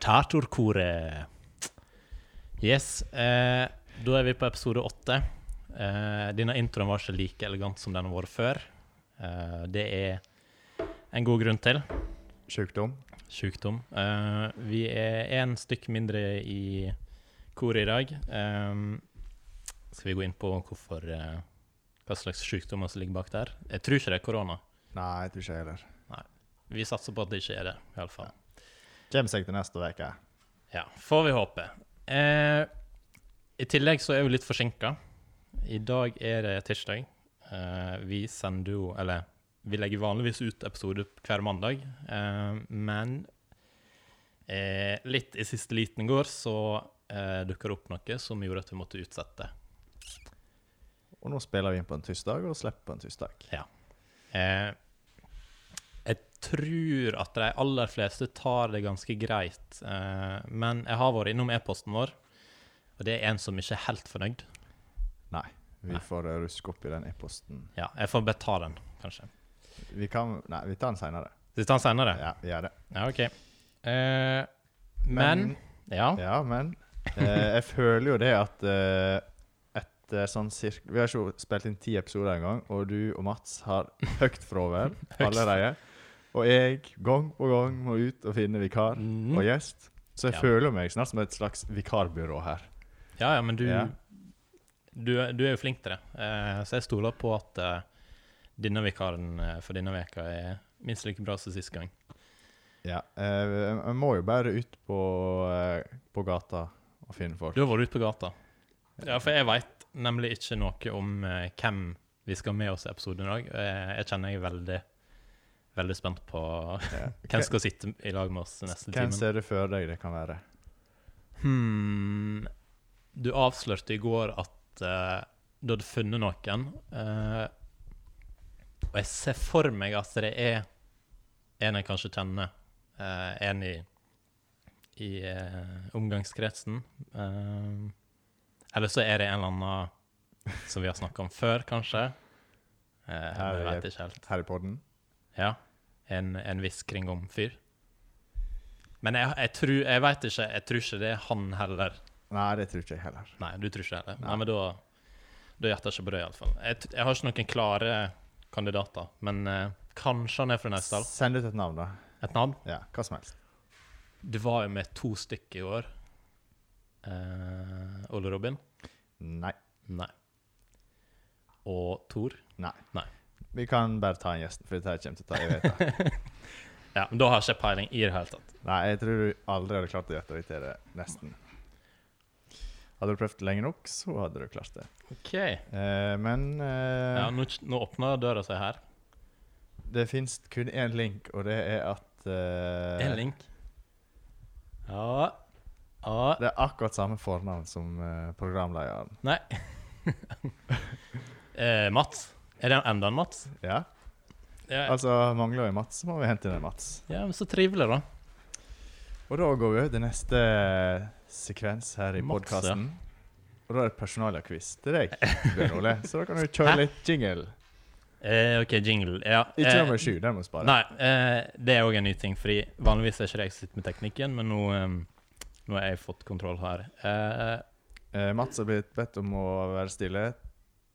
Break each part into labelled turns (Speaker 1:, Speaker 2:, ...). Speaker 1: Kommentatorkoret. Yes. Eh, da er vi på episode åtte. Eh, denne introen var ikke like elegant som den har vært før. Eh, det er en god grunn til.
Speaker 2: Sjukdom.
Speaker 1: Sjukdom. Eh, vi er én stykk mindre i koret i dag. Ehm, skal vi gå inn på hvorfor eh, hva slags sjukdommer som ligger bak der? Jeg tror ikke det er korona.
Speaker 2: Nei, jeg tror ikke jeg heller.
Speaker 1: Vi satser på at det ikke er det. i alle fall.
Speaker 2: Kommer seg til neste uke.
Speaker 1: Ja, får vi håpe. Eh, I tillegg så er vi litt forsinka. I dag er det tirsdag. Eh, vi sender jo Eller vi legger vanligvis ut episode hver mandag, eh, men eh, litt i siste liten går så eh, dukka det opp noe som gjorde at vi måtte utsette.
Speaker 2: Og nå spiller vi inn på en tirsdag og slipper på en tirsdag.
Speaker 1: Eh, jeg tror at de aller fleste tar det ganske greit, eh, men jeg har vært innom e-posten vår, og det er en som ikke er helt fornøyd.
Speaker 2: Nei, vi
Speaker 1: Nei.
Speaker 2: får eh, ruske opp i den e-posten.
Speaker 1: Ja, jeg får bare ta den, kanskje.
Speaker 2: Vi kan Nei, vi tar den seinere.
Speaker 1: Vi tar den senere? Ja,
Speaker 2: Ja, vi gjør det.
Speaker 1: OK. Eh, men Ah. Ja.
Speaker 2: Ja, men eh, jeg føler jo det at eh, etter sånn cirka Vi har ikke spilt inn ti episoder engang, og du og Mats har høyt fravær allerede. Og jeg, gang på gang, må ut og finne vikar
Speaker 1: Mm.
Speaker 2: og gjest. Så jeg
Speaker 1: Ja.
Speaker 2: føler meg snart som et slags vikarbyrå her.
Speaker 1: ja, ja, men du,
Speaker 2: Ja.
Speaker 1: du Du er jo flink til det, eh, så jeg stoler på at eh, denne vikaren eh, for denne veka er minst like bra som sist gang.
Speaker 2: Ja, eh, jeg må jo bare ut på, eh, på gata og finne folk.
Speaker 1: Du har vært ute på gata. Ja, for jeg veit nemlig ikke noe om eh, hvem vi skal ha med oss i episoden i dag. Eh, jeg kjenner jeg er veldig Veldig spent på
Speaker 2: Ja.
Speaker 1: hvem som skal sitte i lag med oss neste
Speaker 2: Hvem
Speaker 1: time.
Speaker 2: ser du for deg det kan være?
Speaker 1: Hmm. Du avslørte i går at eh, du hadde funnet noen. eh, og jeg ser for meg at det er en jeg kanskje kjenner. eh, en i, i eh, omgangskretsen. Eh, eller så er det en eller annen som vi har snakka om før, kanskje. Uh, jeg
Speaker 2: Her er-
Speaker 1: vet ikke helt.
Speaker 2: Her i podden?
Speaker 1: Ja. En, en viss kringom-fyr. Men jeg, jeg tror Jeg veit ikke. Jeg tror ikke det er han heller.
Speaker 2: Nei, det tror ikke jeg heller.
Speaker 1: Nei, du tror ikke det heller. Nei,
Speaker 2: Nei.
Speaker 1: men da Da gjetter jeg ikke på det, iallfall. Jeg, t- jeg har ikke noen klare kandidater, men eh, kanskje han er fra Naustdal.
Speaker 2: Send ut et navn, da.
Speaker 1: Et navn?
Speaker 2: Ja, hva som helst.
Speaker 1: Det var jo med to stykker i år. Eh, Ole Robin?
Speaker 2: Nei.
Speaker 1: Nei. Og Thor?
Speaker 2: Nei.
Speaker 1: Nei.
Speaker 2: Vi kan bare ta en gjest, for dette her kommer til å ta jeg vet det.
Speaker 1: Ja, men da har jeg ikke peiling i det hele tatt.
Speaker 2: Nei, jeg tror du aldri hadde klart å gjette deg til det. Nesten. Hadde du prøvd lenge nok, så hadde du klart det.
Speaker 1: Ok.
Speaker 2: Eh, men eh,
Speaker 1: Ja, nå, nå åpner døra seg her.
Speaker 2: det fins kun én link, og det er at eh,
Speaker 1: En link. Ja. ja.
Speaker 2: Det er akkurat samme fornavn som eh, programlederen.
Speaker 1: Nei. eh, Mats. Er det enda en Mats?
Speaker 2: Ja?
Speaker 1: Ja,
Speaker 2: Altså, mangler vi Mats, så må vi hente inn en Mats.
Speaker 1: ja men så trivelig, da.
Speaker 2: Og da går vi over til neste eh, sekvens her i
Speaker 1: Mats,
Speaker 2: podkasten. Og da er det personalia-quiz til deg, Bjørn Ole. Så da kan du kjøre
Speaker 1: Hæ?
Speaker 2: litt jingle.
Speaker 1: Eh, OK, jingle. Ja.
Speaker 2: Ikke
Speaker 1: eh,
Speaker 2: nummer sju, den må du spare.
Speaker 1: Nei, eh, det er òg en ny ting, fordi vanligvis er ikke det jeg som sitter med teknikken, men nå, ehm, nå har jeg fått kontroll her. Eh,
Speaker 2: Eh, Mats har blitt bedt om å være stille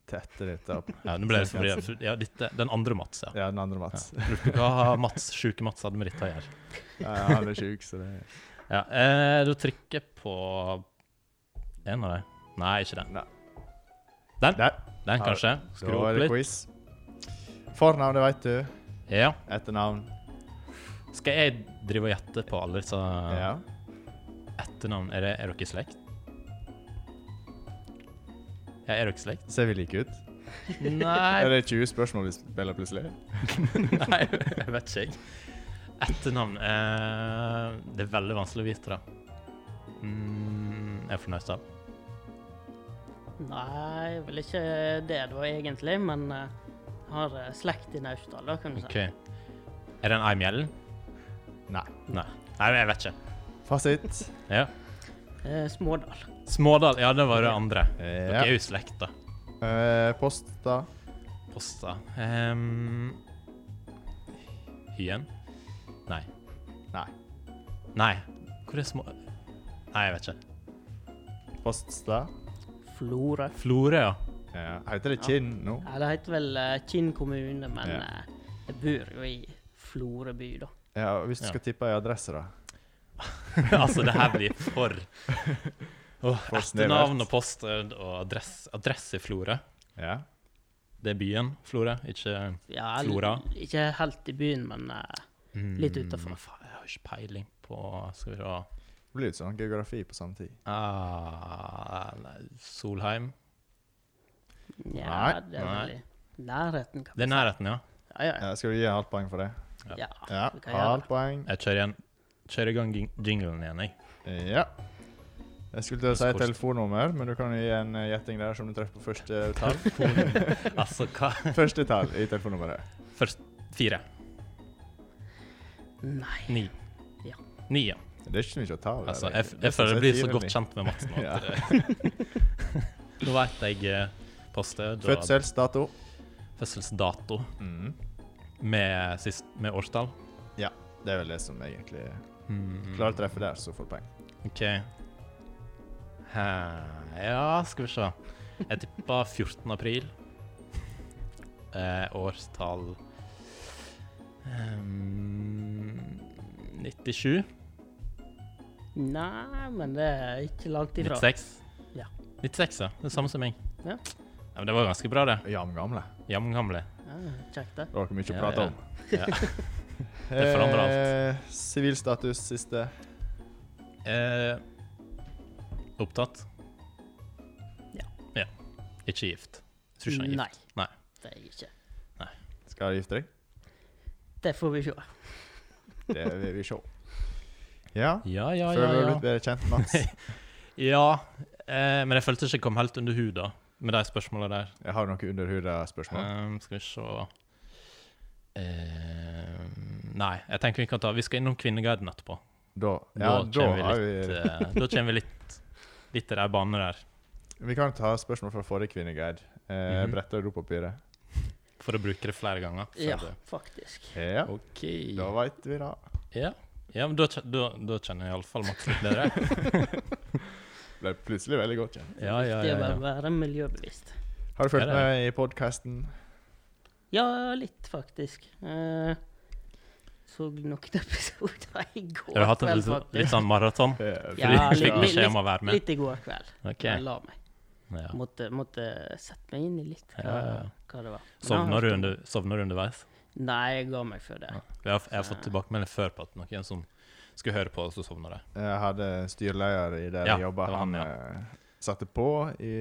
Speaker 2: til etter dette.
Speaker 1: ja, nå ble jeg så forvirret. Ja, dette, den andre Mats, ja.
Speaker 2: Ja, den andre Mats.
Speaker 1: Lurte på Hva har Mats, sjuke Mats hadde med dette å gjøre?
Speaker 2: Ja, han er sjuk, så det
Speaker 1: Ja, eh, da trykker jeg på en av dem. Nei, ikke den.
Speaker 2: Nei.
Speaker 1: Den,
Speaker 2: Der.
Speaker 1: den kanskje.
Speaker 2: Da
Speaker 1: Skru
Speaker 2: er
Speaker 1: opp
Speaker 2: det
Speaker 1: litt.
Speaker 2: quiz. Fornavn, det veit du.
Speaker 1: Ja.
Speaker 2: Etternavn.
Speaker 1: Skal jeg drive og gjette på alle disse
Speaker 2: Ja.
Speaker 1: etternavn? Er, det, er dere i slekt? Ja, er dere i slekt?
Speaker 2: Ser vi like ut? Er
Speaker 1: Nei,
Speaker 2: det 20 spørsmål vi spiller plutselig?
Speaker 1: nei jeg vet ikke. jeg. Etternavn eh, Det er veldig vanskelig å vite, da. Mm, er jeg fra Naustdal?
Speaker 3: Nei, vel ikke det da egentlig, men eh, har eh, slekt i Naustdal, da, kan du
Speaker 1: OK. Er det en Eim Gjellen?
Speaker 2: Nei.
Speaker 1: Nei. Nei, jeg vet ikke.
Speaker 2: Fasit.
Speaker 1: Ja.
Speaker 3: si. Eh, Smådal.
Speaker 1: Smådal. Ja, det var det andre. Dere
Speaker 2: Ja.
Speaker 1: er jo i slekt, da.
Speaker 2: Eh, posta.
Speaker 1: Posta. Ehm, Hyen? Nei.
Speaker 2: Nei.
Speaker 1: Nei. Hvor er små Nei, jeg vet ikke.
Speaker 2: Poststad?
Speaker 3: Florø.
Speaker 1: Florø, ja.
Speaker 2: Ja. Heter det Kinn nå?
Speaker 3: Ja, det heter vel eh, Kinn kommune, men
Speaker 2: Ja.
Speaker 3: eh, jeg bor jo i Florø by, da.
Speaker 2: Ja, Hvis du
Speaker 1: Ja.
Speaker 2: skal tippe ei adresse, da?
Speaker 1: altså, det her blir for Åh,
Speaker 2: For
Speaker 1: Etternavn
Speaker 2: snevert.
Speaker 1: og post eh, og adresse adress i Florø.
Speaker 2: Ja.
Speaker 1: Det er byen Florø, ikke
Speaker 3: Ja, l-
Speaker 1: Flora.
Speaker 3: Ikke helt i byen, men eh, Litt utenfor.
Speaker 1: Mm, faen, Jeg har ikke peiling på Skal vi se
Speaker 2: Det blir litt sånn geografi på samme tid.
Speaker 1: ah, nei, Solheim.
Speaker 3: ja,
Speaker 2: Nei,
Speaker 3: det er
Speaker 1: nei.
Speaker 3: vel i nærheten. Kan
Speaker 1: Det er nærheten, ja.
Speaker 3: Ja, ja,
Speaker 2: Ja, skal du gi halvt poeng for det?
Speaker 3: ja. ja.
Speaker 2: Ja,
Speaker 3: vi kan gjøre
Speaker 2: halvt
Speaker 3: det.
Speaker 2: poeng.
Speaker 1: Jeg kjører, igjen. kjører i gang jing- jinglen igjen, jeg.
Speaker 2: Ja. Jeg skulle til å si
Speaker 1: Kost.
Speaker 2: telefonnummer, men du kan jo gi en eh, gjetting der som du treffer på første tall.
Speaker 1: Altså, hva
Speaker 2: første tall i telefonnummeret.
Speaker 1: Først fire.
Speaker 3: Nei.
Speaker 1: Ni.
Speaker 3: Ja.
Speaker 1: Ni, ja.
Speaker 2: Det er ikke så mye å ta av.
Speaker 1: Altså,
Speaker 2: det,
Speaker 1: jeg,
Speaker 2: egentlig.
Speaker 1: jeg
Speaker 2: Det er
Speaker 1: føler jeg
Speaker 2: sånn
Speaker 1: blir
Speaker 2: sett
Speaker 1: så
Speaker 2: fire
Speaker 1: godt
Speaker 2: ni.
Speaker 1: kjent med Madsen at Nå veit jeg eh, poststed og
Speaker 2: Fødselsdato.
Speaker 1: fødselsdato
Speaker 2: Mm.
Speaker 1: med, sist, med årstall.
Speaker 2: Det er vel det som egentlig
Speaker 1: Mm.
Speaker 2: Klarer å treffe der, så får du poeng.
Speaker 1: OK. Hæ, ja, skal vi se. Jeg tippa 14. april. Eh, årstall ehm, 97?
Speaker 3: Nei, men det er ikke langt ifra.
Speaker 1: 96?
Speaker 3: Ja.
Speaker 1: 96, ja. Det er samme som meg.
Speaker 3: Ja.
Speaker 1: Ja, men det var ganske bra, det.
Speaker 2: Jamgamle.
Speaker 1: Jamgamle.
Speaker 3: Ja, Kjekt, det.
Speaker 2: Det var ikke mye
Speaker 1: Ja,
Speaker 2: å prate
Speaker 1: ja.
Speaker 2: om.
Speaker 1: Ja. Det forandrer alt.
Speaker 2: Eh, Sivilstatus siste.
Speaker 1: Eh, opptatt?
Speaker 3: Ja.
Speaker 1: ja. Ikke gift? Tror ikke han er gift.
Speaker 3: Nei.
Speaker 1: Nei.
Speaker 3: Det er jeg ikke.
Speaker 2: Skal du gifte deg?
Speaker 3: Det får vi se.
Speaker 2: Det vil vi se. Ja.
Speaker 1: Ja, ja, ja.
Speaker 2: Føler du deg
Speaker 1: ja.
Speaker 2: litt bedre kjent, Mats?
Speaker 1: ja eh, men jeg følte ikke jeg kom helt under huda med de spørsmåla der.
Speaker 2: Jeg har noe under huda-spørsmål.
Speaker 1: Ehm, skal vi se Ehm, Nei, jeg tenker vi kan ta Vi skal innom Kvinneguiden etterpå.
Speaker 2: Da, ja, da
Speaker 1: kommer
Speaker 2: har
Speaker 1: vi
Speaker 2: vi
Speaker 1: litt, eh, da kommer vi litt Litt i de banene der,
Speaker 2: Vi kan ta spørsmål fra forrige kvinneguide. Eh,
Speaker 1: eh, Mhm.
Speaker 2: Bretter du dopapiret?
Speaker 1: for å bruke det flere ganger. så
Speaker 3: Ja,
Speaker 1: det-
Speaker 3: faktisk.
Speaker 2: Ja,
Speaker 1: OK.
Speaker 2: da veit vi det.
Speaker 1: Ja, ja men da, kje- da, da kjenner jeg iallfall Mats litt bedre.
Speaker 2: Ble plutselig veldig godt kjent.
Speaker 1: Ja, ja,
Speaker 3: Det
Speaker 1: ja,
Speaker 3: å bare
Speaker 1: ja.
Speaker 3: være miljøbevisst.
Speaker 2: Har du
Speaker 1: Ja,
Speaker 2: fulgt
Speaker 1: det er
Speaker 2: med i podkasten?
Speaker 3: Ja, litt, faktisk. Eh, så nok en episode i går.
Speaker 1: Har du hatt en
Speaker 3: kveld,
Speaker 1: litt, sånn-
Speaker 3: faktisk.
Speaker 1: litt sånn maraton?
Speaker 2: Eh,
Speaker 3: Ja,
Speaker 1: Fordi du fikk
Speaker 3: litt- litt-
Speaker 1: beskjed om å være med?
Speaker 3: Litt i går kveld.
Speaker 1: Ok.
Speaker 3: Jeg la meg.
Speaker 1: Ja.
Speaker 3: Måtte, måtte sette meg inn i litt hva,
Speaker 1: Ja, ja.
Speaker 3: hva det var. Men jeg
Speaker 1: Sovner,
Speaker 3: har
Speaker 1: du
Speaker 3: hørt om-
Speaker 1: under, sovner du underveis?
Speaker 3: Nei, jeg ga meg før det.
Speaker 1: Ja. Jeg har, jeg har fått tilbakemelding før på at noen som skulle høre på, så sovner de.
Speaker 2: Jeg eh, hadde styreleder i der
Speaker 1: Ja,
Speaker 2: jeg jobba.
Speaker 1: det var
Speaker 2: Han
Speaker 1: han,
Speaker 2: eh, satte på i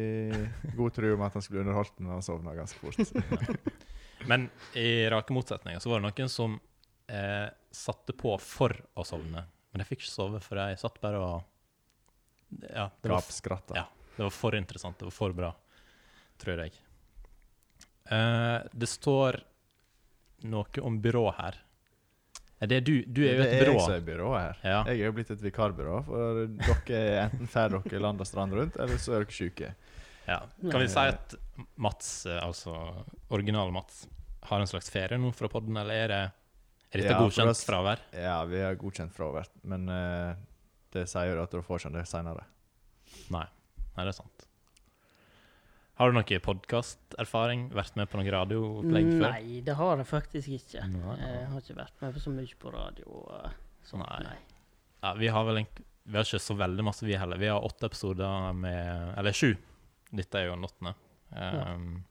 Speaker 2: god tro om at han skulle underholdt den, men han sovna ganske fort.
Speaker 1: Men i rake motsetninger så var det noen som eh, satte på for å sovne. Men jeg fikk ikke sove, for jeg satt bare og Ja, det var,
Speaker 2: Gapskratta.
Speaker 1: Ja. det var for interessant. Det var for bra, tror jeg. Eh, det står noe om byrå her. Er det du? Du er jo
Speaker 2: Det
Speaker 1: et
Speaker 2: er jeg
Speaker 1: byrå.
Speaker 2: som er byrået her.
Speaker 1: Ja.
Speaker 2: Jeg er jo blitt et vikarbyrå, for dere er enten får dere land og strand rundt, eller så er dere syke.
Speaker 1: Ja. Kan vi si at Mats, eh, altså original Mats, har en slags ferie nå fra podden, eller er det er dette
Speaker 2: Ja, for
Speaker 1: godkjent
Speaker 2: oss-
Speaker 1: fravær?
Speaker 2: Ja, vi har godkjent fravær, men eh, det sier jo at dere får ikke det seinere.
Speaker 1: Nei. Nei, det er sant. Har du noe podkasterfaring? Vært med på noen radioopplegg
Speaker 2: Mm,
Speaker 1: før?
Speaker 3: Nei, det har jeg faktisk ikke. Eh,
Speaker 1: Nei.
Speaker 3: Jeg har ikke vært med på så mye på radio. og eh, sånt,
Speaker 1: Nei.
Speaker 3: nei.
Speaker 1: Ja, vi har vel en, vi har ikke så veldig masse, vi heller. Vi har åtte episoder med Eller sju. Dette er jo den åttende. Ehm,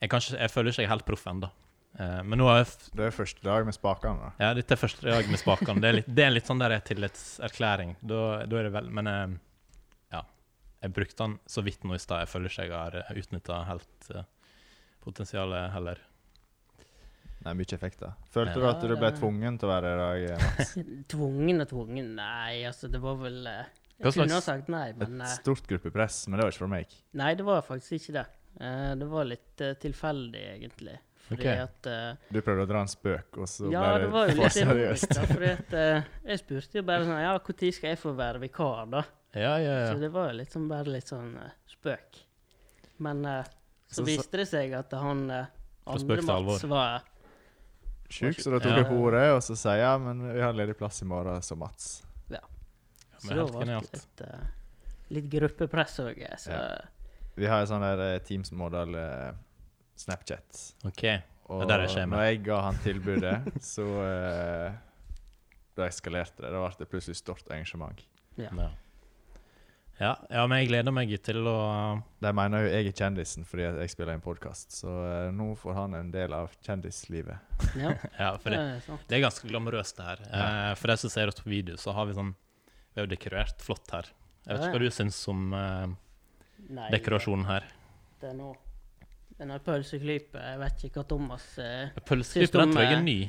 Speaker 1: jeg, kan ikke, jeg føler ikke jeg er helt proff ennå. Eh, men nå har jeg f-
Speaker 2: Det er første dag med spakene. da.
Speaker 1: Ja, dette er første dag med spakene. Det er litt, det er litt sånn der tillitserklæring. Da, da er det vel Men eh, ja. Jeg brukte den så vidt nå i stad. Jeg føler ikke jeg har utnytta helt eh, potensialet heller.
Speaker 2: Nei, mye effekter. Følte
Speaker 1: Ja.
Speaker 2: du at du
Speaker 3: Ja,
Speaker 2: ble
Speaker 3: det-
Speaker 2: tvungen til å være i dag? eh, Mats?
Speaker 3: Tvungen og tvungen Nei, altså, det var vel eh,
Speaker 1: Hva
Speaker 3: Jeg
Speaker 1: slags-
Speaker 3: kunne ha sagt nei, men
Speaker 2: Et
Speaker 3: eh,
Speaker 2: stort gruppepress, men det var ikke for meg.
Speaker 3: Nei, det var faktisk ikke det. Eh, Det var litt eh, tilfeldig, egentlig. Fordi
Speaker 1: Ok.
Speaker 3: at eh,
Speaker 2: Du prøvde å dra en spøk, og så
Speaker 3: Ja, det
Speaker 2: ble
Speaker 3: var
Speaker 2: det for
Speaker 3: jo litt
Speaker 2: seriøst.
Speaker 3: ironisk, da. Fordi at eh, jeg spurte jo bare sånn Ja, når skal jeg få være vikar, da?
Speaker 1: Ja, ja,
Speaker 3: Så det var jo litt sånn, bare litt sånn eh, spøk. Men eh, så,
Speaker 2: Så- så-
Speaker 3: viste det seg at han eh,
Speaker 1: Fra spøk
Speaker 3: andre
Speaker 1: til alvor.
Speaker 3: Mats var
Speaker 2: sjuk, så da tok
Speaker 1: Ja.
Speaker 2: jeg på ordet, og så sier jeg men vi har ledig plass i morgen, så Mats.
Speaker 1: men
Speaker 3: Så da
Speaker 1: helt
Speaker 3: var det
Speaker 1: genialt.
Speaker 3: litt, eh, litt gruppepress òg. Så eh,
Speaker 2: Ja. Vi har en sånn der eh, Teams-modell eh, Snapchat.
Speaker 1: OK. Ja, der er skjema.
Speaker 2: når jeg ga han tilbudet, så eh, Da eskalerte det. Da ble det plutselig stort engasjement.
Speaker 3: ja.
Speaker 1: Ja. Ja, ja, men jeg gleder meg til å
Speaker 2: De mener jo jeg er kjendisen fordi at jeg spiller i en podkast, så eh, nå får han en del av kjendislivet.
Speaker 3: ja. Eh,
Speaker 1: Ja, for
Speaker 3: det
Speaker 1: det,
Speaker 3: er sant.
Speaker 1: det er ganske glamorøst, det her. Eh, for de som ser oss på video, så har vi sånn Vi har jo dekorert flott her. Jeg vet
Speaker 3: Ja,
Speaker 1: ikke hva du syns om eh,
Speaker 3: Nei,
Speaker 1: dekorasjonen her.
Speaker 3: det er nå- Denne pølseklypa eh, Jeg vet ikke hva Thomas eh,
Speaker 1: Pølseklypa, den tror jeg
Speaker 3: eh,
Speaker 1: er ny.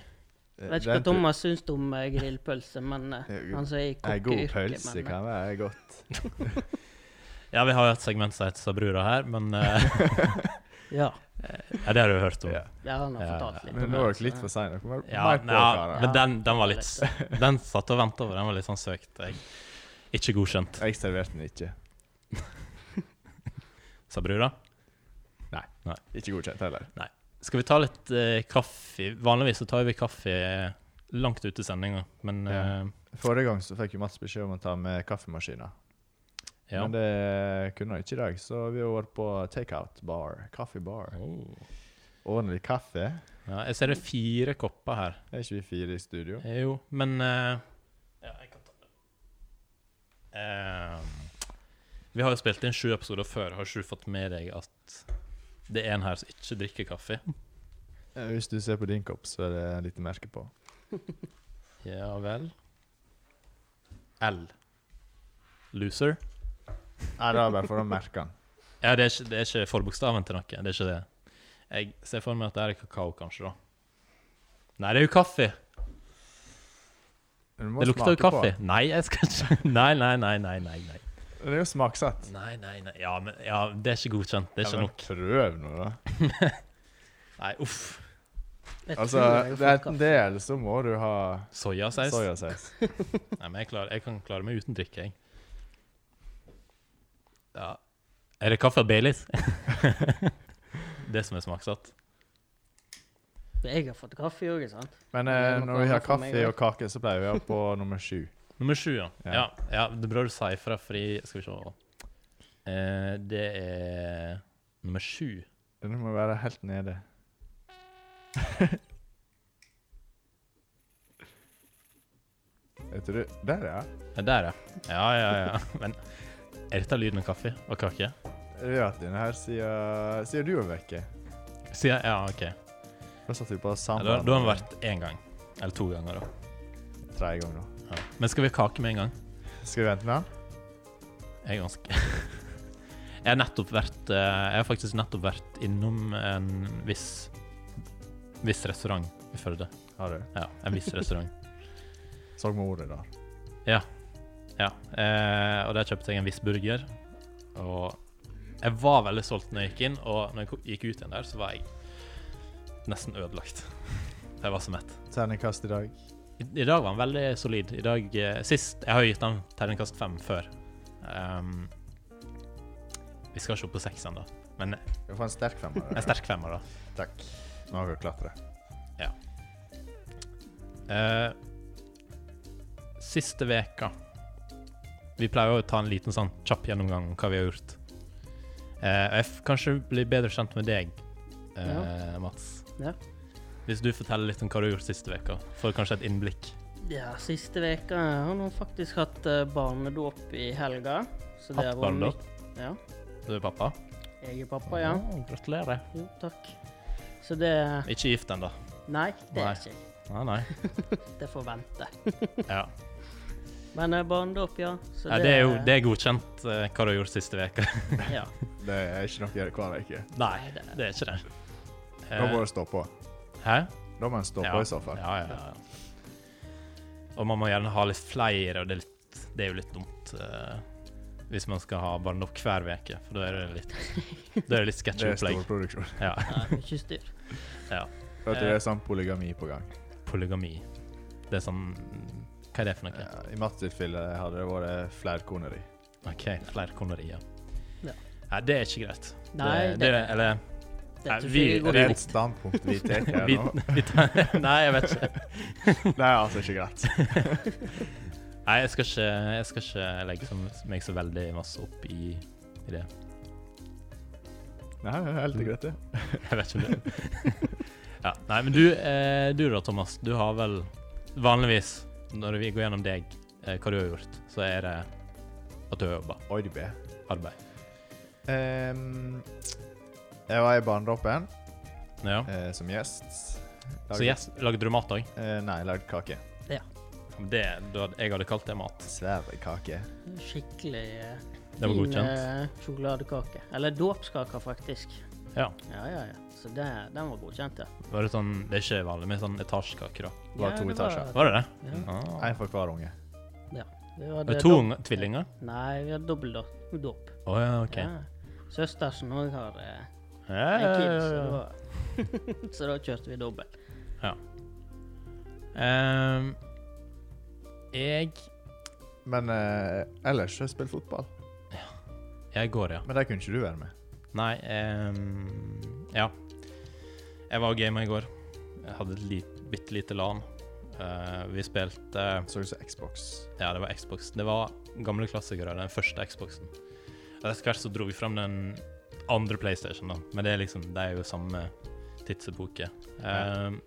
Speaker 2: Eh,
Speaker 3: vet ikke
Speaker 2: den
Speaker 3: hva Thomas syns om eh, grillpølse, men eh,
Speaker 2: Eh,
Speaker 3: han som er i
Speaker 2: tror- Ei god
Speaker 3: kokkeyrket
Speaker 2: pølse
Speaker 3: men, eh,
Speaker 2: kan være godt.
Speaker 1: Ja, vi har jo et segment som heter Sabrura her, men eh,
Speaker 3: Ja,
Speaker 1: Ja, det har du hørt om.
Speaker 2: Ja.
Speaker 3: ja, han har
Speaker 1: Ja,
Speaker 3: fortalt
Speaker 1: ja.
Speaker 3: litt
Speaker 2: Men nå
Speaker 3: om det,
Speaker 2: er dere
Speaker 3: så-
Speaker 2: litt for seine. Dere må være
Speaker 1: Ja,
Speaker 2: mer på,
Speaker 1: ja,
Speaker 2: karer.
Speaker 1: men den, den var
Speaker 3: Det var
Speaker 1: litt s- Den satt og venta over. Den var litt sånn søkt. Jeg, ikke godkjent.
Speaker 2: Jeg serverte den ikke.
Speaker 1: Sa brura.
Speaker 2: Ikke godkjent heller.
Speaker 1: Skal vi ta litt eh, kaffe? Vanligvis så tar vi kaffe eh, langt ute i sendinga, men
Speaker 2: Ja. Forrige gang så fikk jo Mats beskjed om å ta med kaffemaskiner.
Speaker 1: eh, ja.
Speaker 2: Men det kunne han ikke i dag, så vi har vært på takeout bar. Kaffebar.
Speaker 1: Oh.
Speaker 2: Ordentlig kaffe.
Speaker 1: ja. Jeg ser det er fire kopper her.
Speaker 2: Er ikke vi fire i studio?
Speaker 1: Eh, Jo, men eh, Ja, jeg kan ta det. Eh, vi har jo spilt inn sju episoder før. Har ikke du fått med deg at det er en her som ikke drikker kaffe?
Speaker 2: Eh, Hvis du ser på din kopp, så er det et lite merke på.
Speaker 1: Ja vel. L. Loser.
Speaker 2: Nei, det var bare for å merke den.
Speaker 1: Ja, det er ikke, det er ikke forbokstaven til noe. Det er ikke det. Jeg ser for meg at det er kakao, kanskje, da. Nei, det er jo kaffe.
Speaker 2: Men du må
Speaker 1: Det lukter jo
Speaker 2: smake på
Speaker 1: kaffe.
Speaker 2: den.
Speaker 1: Nei, jeg skal ikke Nei, nei, nei, nei. nei, nei.
Speaker 2: Det er jo smaksatt.
Speaker 1: Nei, nei, nei. Ja, men ja, det er ikke godkjent. Det er
Speaker 2: Ja,
Speaker 1: ikke
Speaker 2: men
Speaker 1: nok.
Speaker 2: Prøv nå, da.
Speaker 1: Nei, uff.
Speaker 3: Jeg
Speaker 2: Altså,
Speaker 3: tror jeg har
Speaker 2: det er
Speaker 3: fått
Speaker 2: enten
Speaker 3: kaffe.
Speaker 2: det, eller så må du ha
Speaker 1: Soyasaus.
Speaker 2: soyasaus.
Speaker 1: Nei, men jeg, klarer, jeg kan klare meg uten drikke, jeg. Ja. Er det kaffe og Baileys? det som er smaksatt.
Speaker 3: Jeg har fått kaffe òg, sant?
Speaker 2: Men
Speaker 3: Det
Speaker 2: eh,
Speaker 3: er noe
Speaker 2: når vi har
Speaker 3: annet for meg
Speaker 2: kaffe og
Speaker 3: også.
Speaker 2: kake, så pleier vi å ha på nummer sju.
Speaker 1: Nummer sju, ja.
Speaker 2: Ja.
Speaker 1: Ja. ja. det er bra du sa ifra, fordi Skal vi se eh, Det er nummer sju.
Speaker 2: Den må være helt nede. Vet du Der, ja.
Speaker 1: Ja, der, ja. Ja, ja, ja. Men er dette lyden av kaffe og kake?
Speaker 2: Vi har hatt den her siden, siden du var vekke.
Speaker 1: Sier jeg? Ja, OK.
Speaker 2: Da satt vi på
Speaker 1: Ja,
Speaker 2: sammen.
Speaker 1: da, da har den vært én gang. Eller to ganger, da.
Speaker 2: Tre ganger nå.
Speaker 1: Ja. Men skal vi ha kake med en gang?
Speaker 2: Skal vi vente med den?
Speaker 1: Jeg er ganske Jeg har nettopp vært eh, Jeg har faktisk nettopp vært innom en viss Viss restaurant i Førde.
Speaker 2: Har du?
Speaker 1: Ja, en viss restaurant.
Speaker 2: Så med ordet, da.
Speaker 1: Ja, eh, og der kjøpte jeg en viss burger. Og jeg var veldig solgt når jeg gikk inn, og når jeg ko- gikk ut igjen der, så var jeg nesten ødelagt. For jeg var så mett.
Speaker 2: Terningkast i dag.
Speaker 1: I, I dag var han veldig solid. I dag, eh, sist, Jeg har jo gitt han terningkast fem før. Ehm, vi skal ikke opp på seks ennå, men
Speaker 2: Du får en sterk femmer.
Speaker 1: en sterk femmer, da.
Speaker 2: Takk. Nå har vi klatra.
Speaker 1: Eh, siste veka Vi pleier jo å ta en liten sånn kjapp gjennomgang om hva vi har gjort. Eh, og jeg f kanskje blir bedre kjent med deg, eh, Mats.
Speaker 3: Ja.
Speaker 1: Hvis du forteller litt om hva du har gjort siste veka får du kanskje et innblikk.
Speaker 3: Ja, siste veka har nå faktisk hatt eh, barnedåp i helga. Så det
Speaker 1: Hatt
Speaker 3: har vært
Speaker 1: barnedåp?
Speaker 3: nytt. Ja.
Speaker 1: Du er pappa?
Speaker 3: Jeg er pappa, ja.
Speaker 1: Å, gratulerer.
Speaker 3: Jo, takk. Så det
Speaker 1: Ikke gift ennå.
Speaker 3: Nei, det
Speaker 1: Nei.
Speaker 3: er ikke jeg.
Speaker 1: Nei, nei.
Speaker 3: Det får vente.
Speaker 1: Ja.
Speaker 3: Men eh, barnedåp, ja. Så
Speaker 1: Ja, det er jo det er godkjent eh, hva du har gjort siste veka
Speaker 3: Ja.
Speaker 2: Det er ikke noe å gjøre hver uke.
Speaker 1: Nei, det er ikke det.
Speaker 2: Da må
Speaker 1: Eh,
Speaker 2: du stå på.
Speaker 1: hæ?
Speaker 2: Da må en stå på i så fall.
Speaker 1: Ja, ja, ja. Og man må gjerne ha litt flere, og det er, litt, det er jo litt dumt eh, hvis man skal ha barnedåp hver uke, for da er det litt, da er det litt
Speaker 2: Det er
Speaker 1: sketsjopplegg.
Speaker 2: storproduksjon.
Speaker 1: Ja,
Speaker 3: ja Mye styr.
Speaker 2: Vet du, det er sånn polygami på gang.
Speaker 1: polygami. Det er sånn Hva er det for noe?
Speaker 2: Ja, I Mats sitt fille hadde det vært flerkoneri.
Speaker 1: OK, flerkoneri, ja.
Speaker 3: Ja.
Speaker 1: Nei, det er ikke greit.
Speaker 3: Nei,
Speaker 1: det,
Speaker 3: det-
Speaker 1: det, eller Nei,
Speaker 3: Dette
Speaker 1: vi-
Speaker 3: vi, går
Speaker 2: Det er
Speaker 1: vi-
Speaker 2: et
Speaker 3: fint.
Speaker 2: standpunkt vi tar her
Speaker 1: Vi,
Speaker 2: nå.
Speaker 1: vi tar, nei, jeg vet ikke.
Speaker 2: Det er altså ikke greit.
Speaker 1: Nei, jeg skal ikke, jeg skal ikke legge så- meg så veldig masse opp i, i det.
Speaker 2: Nei, det er helt greit, det.
Speaker 1: Jeg vet ikke om det. Ja, nei, men du, eh, du da, Thomas. Du har vel vanligvis, når vi går gjennom deg, eh, hva du har gjort, så er det at du har jobba.
Speaker 2: Oi, det ber.
Speaker 1: Arbeid.
Speaker 2: Ehm, jeg var i Barnedråpen
Speaker 1: Ja.
Speaker 2: eh, som gjest.
Speaker 1: Så yes, lagde du mat òg?
Speaker 2: Eh, nei, lagde kake.
Speaker 1: Det du hadde- jeg hadde kalt det mat.
Speaker 2: Sverre kake.
Speaker 3: Skikkelig eh,
Speaker 1: Det var
Speaker 3: fin,
Speaker 1: godkjent.
Speaker 3: eh, sjokoladekake. Eller dåpskaker, faktisk.
Speaker 1: Ja.
Speaker 3: Ja, ja, ja. Så det, den var godkjent, ja.
Speaker 1: Var det sånn Det er ikke vanlig med sånn etasjekake, da.
Speaker 2: Det var
Speaker 3: ja,
Speaker 2: to etasjer.
Speaker 1: Var det det?
Speaker 3: Ja.
Speaker 1: Ah.
Speaker 2: Én for hver unge.
Speaker 3: Vi hadde
Speaker 1: Var det to
Speaker 3: dob-
Speaker 1: unge- tvillinger?
Speaker 3: Nei, vi hadde dobbel da- dåp.
Speaker 1: Å ja, OK. Ja,
Speaker 3: Ja. Søstersen òg har eh, en
Speaker 1: ja,
Speaker 3: kid,
Speaker 1: ja,
Speaker 3: så
Speaker 1: ja.
Speaker 3: da, så da kjørte vi dobbel.
Speaker 1: Ehm, jeg
Speaker 2: Men eh, ellers har jeg spilt fotball.
Speaker 1: Jeg går, ja.
Speaker 2: Men der kunne ikke du være med.
Speaker 1: Nei ehm, Ja. Jeg var og gamet i går. Jeg hadde et lit, bitte lite LAN. Eh, vi spilte
Speaker 2: Så du så Xbox.
Speaker 1: Ja, det var Xbox. Det var gamle klassikere, den første Xboxen. Og Etter hvert så dro vi fram den andre PlayStation, da. Men det er liksom Det er jo samme tidsepoke. Ehm,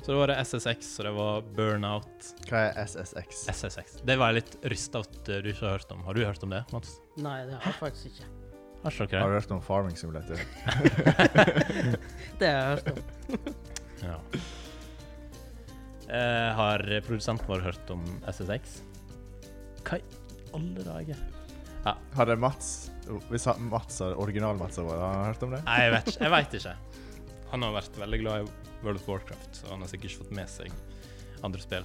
Speaker 1: så det var det SSX, og det var Burnout.
Speaker 2: Hva er SSX?
Speaker 1: SSX. Det var jeg litt rysta at eh, du ikke har hørt om. Har du hørt om det, Mats?
Speaker 3: Nei, det har jeg faktisk ikke.
Speaker 1: Har ikke dere
Speaker 2: Har du hørt om Farming Simulator?
Speaker 3: Det har jeg hørt om.
Speaker 1: Ja. Eh, har produsenten vår hørt om SSX? Hva i alle dager?
Speaker 2: Hadde Mats Hvis han- Mats hadde original-Mats vært har han hørt om det?
Speaker 1: Nei, jeg vet, ikke- jeg vet ikke. Han har vært veldig glad i World of Warcraft, så han har sikkert ikke fått med seg andre spill.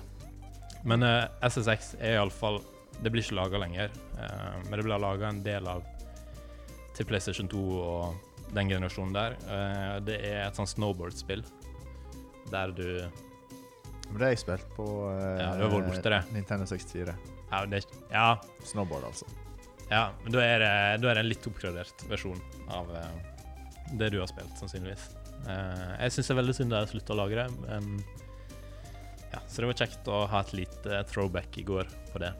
Speaker 1: Men eh, SSX er iallfall Det blir ikke laga lenger, eh, men det blir laga en del av til PlayStation 2 og den generasjonen der. Eh, det er et sånt snowboardspill der du
Speaker 2: Men det har jeg spilt på eh,
Speaker 1: Ja, du har vært borte, det.
Speaker 2: Nintendo 64.
Speaker 1: Ja, det, er- ja
Speaker 2: Snowboard, altså.
Speaker 1: Ja, men da er det, da er det en litt oppgradert versjon av eh, det du har spilt, sannsynligvis. Eh, jeg syns det er veldig synd at jeg slutta å lage det, men ja, så det var kjekt å ha et lite eh, throwback i går på det.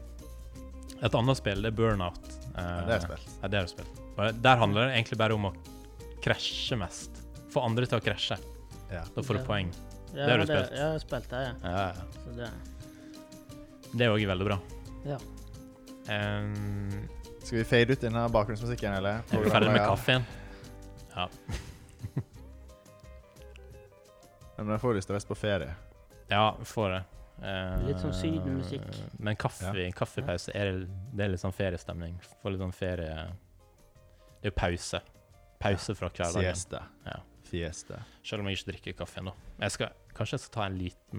Speaker 1: Et annet spill det er Burnout. Eh,
Speaker 2: Ja, det har jeg spilt.
Speaker 1: Ja, det har du spilt. Og Der handler det egentlig bare om å krasje mest. Få andre til å krasje.
Speaker 2: Ja.
Speaker 1: Da får du
Speaker 3: Ja.
Speaker 1: poeng.
Speaker 3: Ja,
Speaker 1: Det har du
Speaker 3: ja,
Speaker 1: spilt.
Speaker 3: jeg har spilt det, ja.
Speaker 1: Ja, ja.
Speaker 3: Så det,
Speaker 1: Det er òg veldig bra.
Speaker 3: Ja.
Speaker 1: Em,
Speaker 2: Skal vi fade ut denne bakgrunnsmusikken, eller?
Speaker 1: Er vi ferdig med
Speaker 2: Programleder?
Speaker 1: kaffen? Ja.
Speaker 2: Ja, Men jeg får lyst til å reise på ferie.
Speaker 1: Ja, vi får det. Eh,
Speaker 3: Litt sånn sydenmusikk.
Speaker 1: Men kaffe, kaffepause er, det er litt sånn feriestemning. Få litt sånn ferie Det er jo pause. Pause fra hverdagen.
Speaker 2: Siesta.
Speaker 1: Ja.
Speaker 2: Fiesta.
Speaker 1: Selv om jeg ikke drikker kaffe ennå. Jeg skal, kanskje jeg skal ta en liten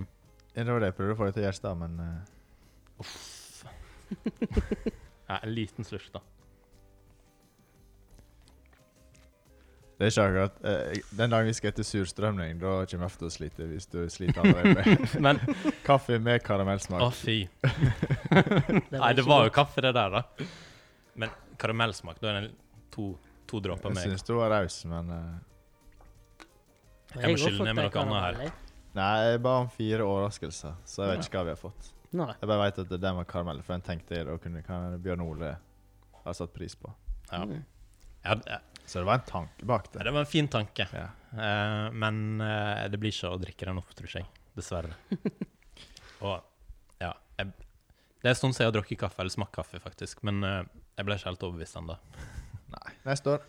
Speaker 2: Ja, Det var det jeg prøvde å få deg til å gjøre i stad, men eh,
Speaker 1: ja, en liten slurk, da.
Speaker 2: det er ikke akkurat eh, Den dagen vi skal etter surstrømning, da kommer jeg til å slite hvis du sliter allerede med
Speaker 1: Men
Speaker 2: kaffe med
Speaker 1: å,
Speaker 2: karamellsmak.
Speaker 1: fy.
Speaker 3: det
Speaker 1: Nei, det
Speaker 3: ikke
Speaker 1: var
Speaker 3: godt.
Speaker 1: jo kaffe, det der, da. Men karamellsmak, da er det to, to dråper
Speaker 2: Jeg
Speaker 1: med
Speaker 2: syns du var raus, men eh,
Speaker 3: Men
Speaker 1: Jeg må
Speaker 3: har
Speaker 1: skylle ned med noe
Speaker 3: fått det
Speaker 1: annet her.
Speaker 3: karamell, jeg.
Speaker 2: Nei, jeg ba om fire overraskelser, så jeg vet ikke hva vi har fått.
Speaker 3: Nei.
Speaker 2: Jeg bare vet at den var karamell, for den tenkte jeg da kunne kan Bjørn Ole ha satt pris på.
Speaker 1: Ja.
Speaker 3: Mm.
Speaker 1: Ja, det-
Speaker 2: Så det var en tanke bak
Speaker 1: ja,
Speaker 2: det.
Speaker 1: det var en fin tanke.
Speaker 2: Ja.
Speaker 1: Eh, men eh, det blir ikke å drikke den opp, tror jeg. Dessverre. Og ja jeg, Det er en stund siden jeg har drukket kaffe, eller smakt kaffe, faktisk. Men eh, jeg ble ikke helt overbevist ennå.
Speaker 2: Neste år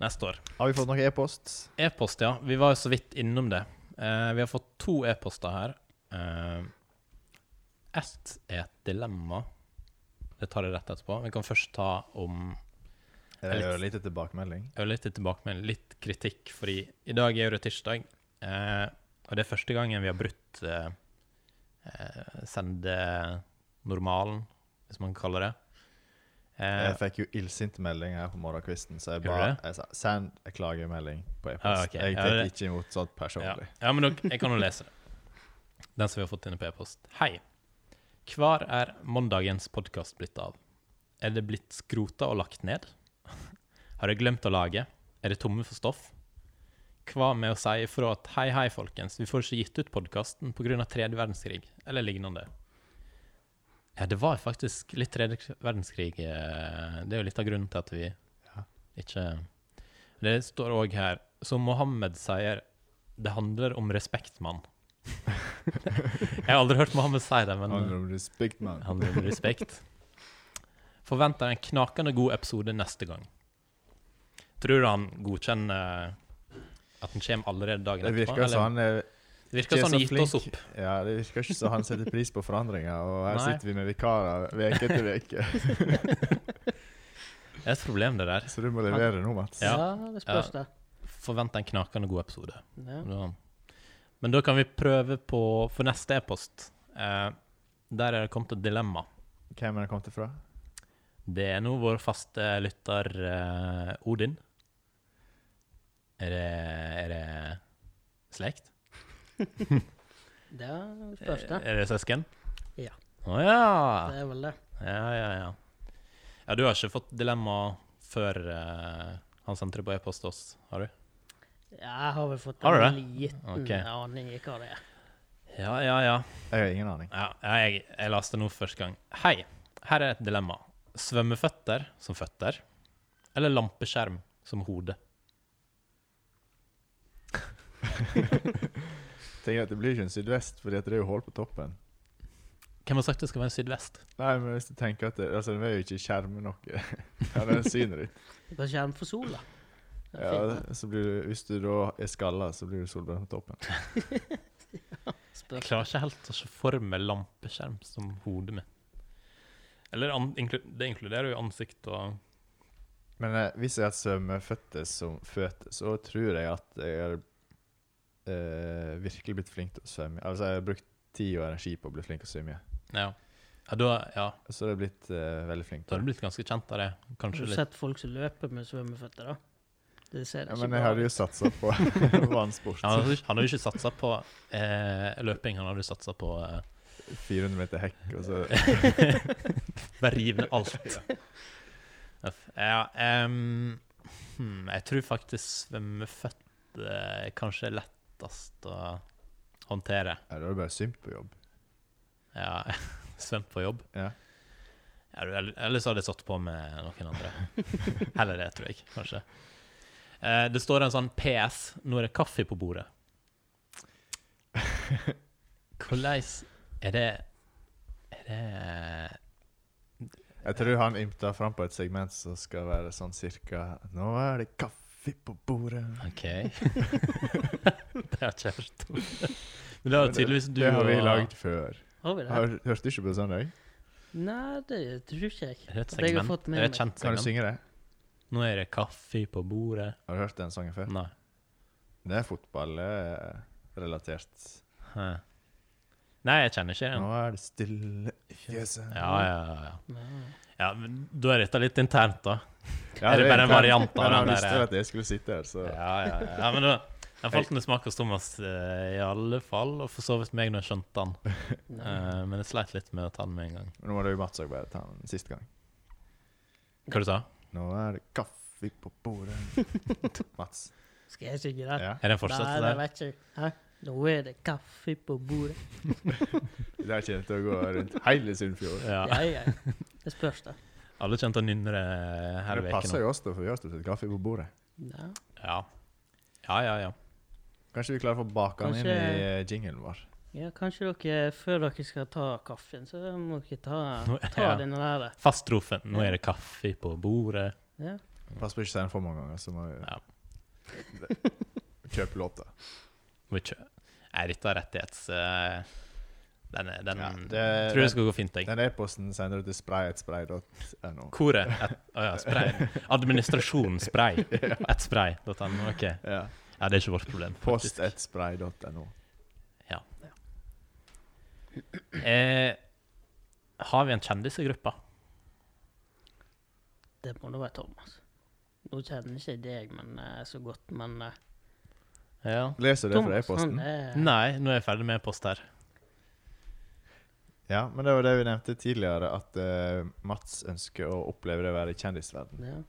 Speaker 1: Neste år.
Speaker 2: har vi fått noe e-post.
Speaker 1: E-post, ja. Vi var jo så vidt innom det. Eh, vi har fått to e-poster her. Uh, est er et dilemma. Det tar jeg rett etterpå. Vi kan først ta om
Speaker 2: Er det
Speaker 1: Litt.
Speaker 2: ørlite tilbakemelding?
Speaker 1: Jeg har litt tilbake med litt kritikk, fordi i dag er jo det tirsdag. Eh, og det er første gangen vi har brutt eh, eh, sendenormalen, hvis man kan kalle det. Eh,
Speaker 2: Jeg fikk jo illsint melding her på morgenkvisten, så jeg
Speaker 1: Gjorde
Speaker 2: bare
Speaker 1: det?
Speaker 2: jeg sa, send en klagemelding på
Speaker 1: Ah,
Speaker 2: e-post.
Speaker 1: ok.
Speaker 2: Jeg
Speaker 1: Ja,
Speaker 2: tar
Speaker 1: det-
Speaker 2: ikke imot sånt personlig.
Speaker 1: Ja, ja men dere, jeg kan jo lese det. Den som vi har fått inne på e-post. Hei. Hvar er mandagens podkast blitt av? Er det blitt skrota og lagt ned? Har jeg glemt å lage? Er det tomme for stoff? Hva med å si ifra at hei, hei, folkens, vi får ikke gitt ut podkasten pga. tredje verdenskrig, eller lignende? Ja, det var faktisk litt tredje verdenskrig eh, Det er jo litt av grunnen til at vi ikke Det står òg her Som Mohammed sier, det handler om respekt, mann. Jeg har aldri hørt Mohammed si det, men
Speaker 2: Handler om respekt, mann.
Speaker 1: det handler om respekt. Forventer en knakende god episode neste gang. Tror du han godkjenner at den kommer allerede dagen
Speaker 2: Det
Speaker 1: etterpå?
Speaker 2: virker som han er
Speaker 1: det virker som han har
Speaker 2: ikke
Speaker 1: gitt
Speaker 2: så
Speaker 1: oss opp.
Speaker 2: Ja, det virker ikke som han setter pris på forandringer, og her
Speaker 1: Nei.
Speaker 2: sitter vi med vikarer uke etter uke.
Speaker 1: Det er et problem, det der.
Speaker 2: Så du må levere nå, Mats.
Speaker 1: Ja.
Speaker 3: Ja, det spørs, da.
Speaker 1: Forventer en knakende god episode.
Speaker 3: Ja.
Speaker 1: Da. Men da kan vi prøve på For neste e-post, eh, der er det kommet et dilemma.
Speaker 2: Hvem er det kommet ifra?
Speaker 1: Det er nå vår faste lytter eh, Odin. Er det, er det slekt?
Speaker 3: Ja, det spørs, da.
Speaker 1: Eh, Er det søsken?
Speaker 3: Ja.
Speaker 1: Å ja.
Speaker 3: Det er vel det.
Speaker 1: Ja, ja, ja. Ja, du har ikke fått dilemma før eh, han sendte det på e-post til oss, har du?
Speaker 3: Ja, jeg har vel fått
Speaker 1: Har du
Speaker 3: en liten
Speaker 1: Ok.
Speaker 3: aning i hva det er.
Speaker 1: Ja, ja, ja.
Speaker 2: Jeg har ingen aning.
Speaker 1: Ja, jeg, jeg leste nå første gang. Hei, her er et dilemma. Svømmeføtter som føtter, eller lampeskjerm som hode?
Speaker 2: Tenker at Det blir ikke en sydvest, fordi at det er jo hull på toppen.
Speaker 1: Hvem har sagt det skal være en sydvest?
Speaker 2: Nei, men hvis du tenker at det, altså, Den vil jo ikke skjerme noe. Ja, den syner ikke.
Speaker 3: Det kan skjerme for sola. Det er
Speaker 2: Ja,
Speaker 3: fint,
Speaker 2: så blir du, hvis du da er skalla, så blir du solbrent på toppen.
Speaker 3: da.
Speaker 1: Jeg
Speaker 3: Spørs.
Speaker 1: klarer ikke helt å se for meg lampeskjerm som hodet mitt. Eller an, inklu, det inkluderer jo ansikt og
Speaker 2: Men eh, hvis jeg hadde svømmeføtter som føtter, så tror jeg at jeg har eh, virkelig blitt flink til å svømme. Altså, jeg har brukt tid og energi på å bli flink til å svømme.
Speaker 1: Ja. Ja, da, ja,
Speaker 2: Så har jeg blitt eh, veldig flink.
Speaker 1: da har du blitt ganske kjent av det.
Speaker 3: Har
Speaker 1: Kanskje
Speaker 3: du
Speaker 1: litt
Speaker 3: sett folk som løper med svømmeføtter, da? Det ser
Speaker 2: Ja,
Speaker 3: ikke
Speaker 2: men jeg
Speaker 3: bra
Speaker 2: hadde jo
Speaker 3: ut.
Speaker 2: satsa på vannsport.
Speaker 1: Han hadde ikke- han hadde jo ikke satsa på eh, løping, han hadde jo satsa på eh,
Speaker 2: 400 meter hekk, og så
Speaker 1: Bare riv ned alt. Uff. Ja, em, hmm, jeg tror faktisk svømmeføtter er eh, kanskje er lettest å håndtere.
Speaker 2: Ja, da er det bare symt på jobb.
Speaker 1: Ja, svømt på jobb.
Speaker 2: Ja.
Speaker 1: Ja, du, ell- ellers hadde jeg satt på med noen andre. Heller det, tror jeg, kanskje. Eh, det står en sånn PS 'Nå er det kaffe på bordet'. Hvordan er det Er det
Speaker 2: Jeg tror han ymta fram på et segment som skal være sånn cirka Nå er det kaffe på bordet.
Speaker 1: OK. det har ikke jeg forstått. Men det var tydeligvis du
Speaker 2: det har vi
Speaker 1: og-
Speaker 2: lagd før.
Speaker 3: Har vi det?
Speaker 2: Har, hørte du ikke på det sånn, jeg?
Speaker 3: Nei, det tror ikke jeg.
Speaker 1: Er det et
Speaker 3: At jeg har
Speaker 1: segment?
Speaker 3: fått med
Speaker 1: Er det et
Speaker 3: meg.
Speaker 1: kjent
Speaker 2: Kan du
Speaker 1: segment?
Speaker 2: synge det?
Speaker 1: Nå er det kaffe på bordet
Speaker 2: Har du hørt den sangen før?
Speaker 1: Nei.
Speaker 2: Det er fotballrelatert.
Speaker 1: Hæ. Nei, jeg kjenner ikke den.
Speaker 2: Nå er det stille i fjøset
Speaker 1: Ja, ja, ja, ja.
Speaker 3: Ja.
Speaker 1: ja men da er dette litt internt, da.
Speaker 2: Ja,
Speaker 1: er det bare en
Speaker 2: internt,
Speaker 1: variant av
Speaker 2: men
Speaker 1: den
Speaker 2: han
Speaker 1: der- eh?
Speaker 2: visste jo at jeg skulle sitte her, så
Speaker 1: Ja, ja, ja. ja men da, den falt ned smak hos Thomas eh, i alle fall, og for så vidt meg når jeg skjønte den. Eh, men jeg sleit litt med å ta den med en gang.
Speaker 2: Nå må du jo Mats òg bare ta den siste gang.
Speaker 1: Hva du sa
Speaker 2: Nå er det kaffe på bordet. Mats.
Speaker 3: Skal jeg synge den?
Speaker 2: Ja.
Speaker 1: Er det en
Speaker 3: Nei,
Speaker 1: fortsettelse
Speaker 3: det
Speaker 1: der?
Speaker 3: vet jeg ikke. Hæ? Nå er det kaffe på bordet.
Speaker 2: Det der kommer til å gå rundt hele Sunnfjord.
Speaker 1: Ja.
Speaker 3: Ja, ja. Det spørs, da.
Speaker 1: Alle kjente å nynne det her i
Speaker 2: Det
Speaker 1: veken
Speaker 2: passer
Speaker 1: nå.
Speaker 2: jo oss, da, for vi har stort sett kaffe på bordet.
Speaker 3: Ja.
Speaker 1: Ja. ja, ja, ja.
Speaker 2: Kanskje vi klarer å få baka den inn i
Speaker 3: Kanskje-
Speaker 2: eh, jinglen vår.
Speaker 3: ja, kanskje dere, før dere skal ta kaffen, så må dere ta,
Speaker 1: Nå-
Speaker 3: ta
Speaker 1: ja.
Speaker 3: denne der.
Speaker 1: Fastrofen. Nå er det kaffe på bordet.
Speaker 3: Ja.
Speaker 2: Pass på ikke å si den for mange ganger, så må vi
Speaker 1: Ja.
Speaker 2: kjøpe låta.
Speaker 1: Må vi kjø- Nei, dette er rettighets... eh, den er, den
Speaker 2: Ja, det-
Speaker 1: tror jeg skal gå fint, jeg.
Speaker 2: Den e-posten sender du til sprayetspray.no.
Speaker 1: Koret. Et, å ja, spray. Administrasjon, spray. Et spray. dot no, ok.
Speaker 2: Ja.
Speaker 1: Ja, det er ikke vårt problem. faktisk.
Speaker 2: Postetspray.no.
Speaker 1: Ja. Eh, har vi en kjendis i gruppa?
Speaker 3: Det må da være Thomas. Nå kjenner ikke jeg deg men, eh, så godt, men eh,
Speaker 1: Ja.
Speaker 2: Leser du det fra
Speaker 3: Thomas, han
Speaker 2: e-posten?
Speaker 3: er
Speaker 1: Nei, nå er jeg ferdig med post her.
Speaker 2: Ja, men det var det vi nevnte tidligere, at eh, Mats ønsker å oppleve det å være i kjendisverden.
Speaker 3: ja.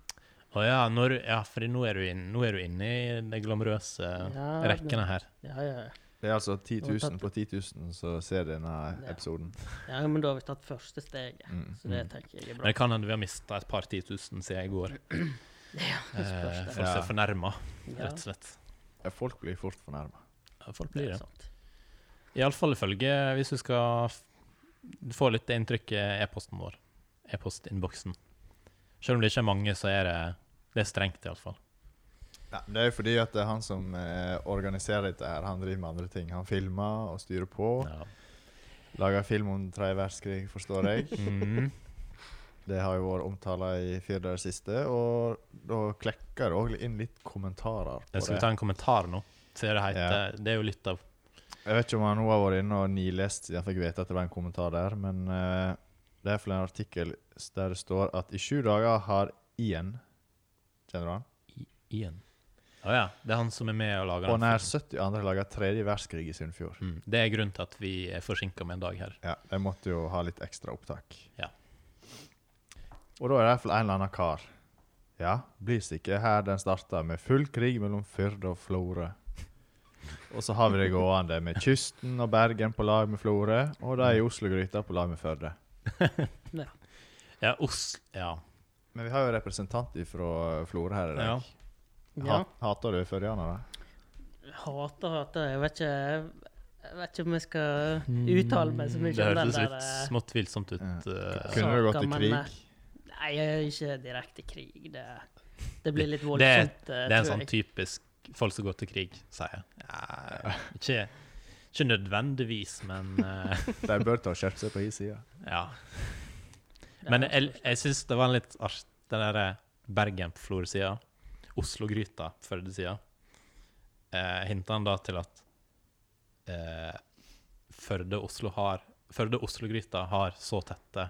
Speaker 1: Å Å ja, når, ja for nå er, du inn, nå er du inne i de glamorøse
Speaker 3: Ja, det-
Speaker 1: rekkene her.
Speaker 3: Ja, ja, ja.
Speaker 2: Det er altså 10
Speaker 3: Du har
Speaker 2: 000
Speaker 3: tatt-
Speaker 2: på 10 000 som ser denne
Speaker 3: Ja.
Speaker 2: episoden.
Speaker 3: ja, men da har vi tatt første steget.
Speaker 2: Mm.
Speaker 3: Så det tenker jeg er
Speaker 1: Men
Speaker 3: bra.
Speaker 1: det kan hende vi har mista et par 10 000 siden i går.
Speaker 3: det
Speaker 1: Eh,
Speaker 3: spørs det.
Speaker 1: folk som
Speaker 2: Ja.
Speaker 1: er fornærma,
Speaker 3: Ja,
Speaker 1: rett og slett.
Speaker 2: Ja, Folk blir fort fornærma.
Speaker 1: Ja, Folk
Speaker 3: det
Speaker 1: blir
Speaker 3: er
Speaker 1: det.
Speaker 3: sant.
Speaker 1: Iallfall ifølge Hvis du skal f- få litt det inntrykket e-posten vår, e-postinnboksen Selv om det ikke er mange, så er det, det er strengt, iallfall.
Speaker 2: Nei, men det er jo fordi at det er han som eh, organiserer dette, her, han driver med andre ting. Han filmer og styrer på.
Speaker 1: Ja.
Speaker 2: Lager film om tredje verdenskrig, forstår jeg.
Speaker 1: Mm.
Speaker 2: Det har jo vært omtala i fire dager siste. Og da klekker det òg inn litt kommentarer. på
Speaker 1: Jeg skulle
Speaker 2: det.
Speaker 1: ta en kommentar nå. Så det, heter, det er jo litt av
Speaker 2: Jeg vet ikke om han nå har vært inne og nilest siden jeg fikk vite at det var en kommentar der, men eh, det er iallfall en artikkel s- der det står at i sju dager har Ian Kjenner du han?
Speaker 1: Ian. Å ja. Det er han som er med og lager
Speaker 2: Og
Speaker 1: den
Speaker 2: nær
Speaker 1: filmen.
Speaker 2: 70 andre laga tredje verdenskrig i Sunnfjord.
Speaker 1: Mm. Det er grunnen til at vi er forsinka med en dag her.
Speaker 2: Ja, de måtte jo ha litt ekstra opptak.
Speaker 1: Ja.
Speaker 2: Og da er det iallfall en eller annen kar. Ja, blir sikkert her den starta, med full krig mellom Fyrde og Florø. Og så har vi det gående med kysten og Bergen på lag med Florø, og de i Oslo-gryta på lag med Førde.
Speaker 3: Ja.
Speaker 1: Ja, Os... Ja.
Speaker 2: Men vi har jo en representant fra Florø her i dag.
Speaker 1: ja.
Speaker 3: ja.
Speaker 2: Ha- Hater du førdianere?
Speaker 3: Hater, hater. Jeg vet ikke Jeg vet ikke om jeg skal uttale meg så mye
Speaker 1: Mm, Det
Speaker 3: om den
Speaker 1: hørtes
Speaker 3: der
Speaker 1: litt
Speaker 3: eh,
Speaker 1: smått tvilsomt ut.
Speaker 2: Ja.
Speaker 1: eh,
Speaker 3: Så-
Speaker 2: Kunne du gått i
Speaker 3: gammel,
Speaker 2: krig?
Speaker 3: eh, Nei, jeg er ikke direkte krig. Det, det blir litt
Speaker 1: Det er-
Speaker 3: voldsomt. eh,
Speaker 1: Det er en
Speaker 3: tror
Speaker 1: sånn
Speaker 3: jeg.
Speaker 1: typisk folk som går til krig, sier jeg. Ja, ikke, ikke nødvendigvis, men eh,
Speaker 2: De bør ta og skjerpe seg på hi side.
Speaker 1: ja.
Speaker 3: Ja,
Speaker 1: Men jeg, jeg syns det var en litt artig, den derre Bergen på Florø-sida, Oslo-gryta på Førde-sida. Eh, Hinta han da til at eh, Førde-Oslo har Førde-Oslo-gryta har så tette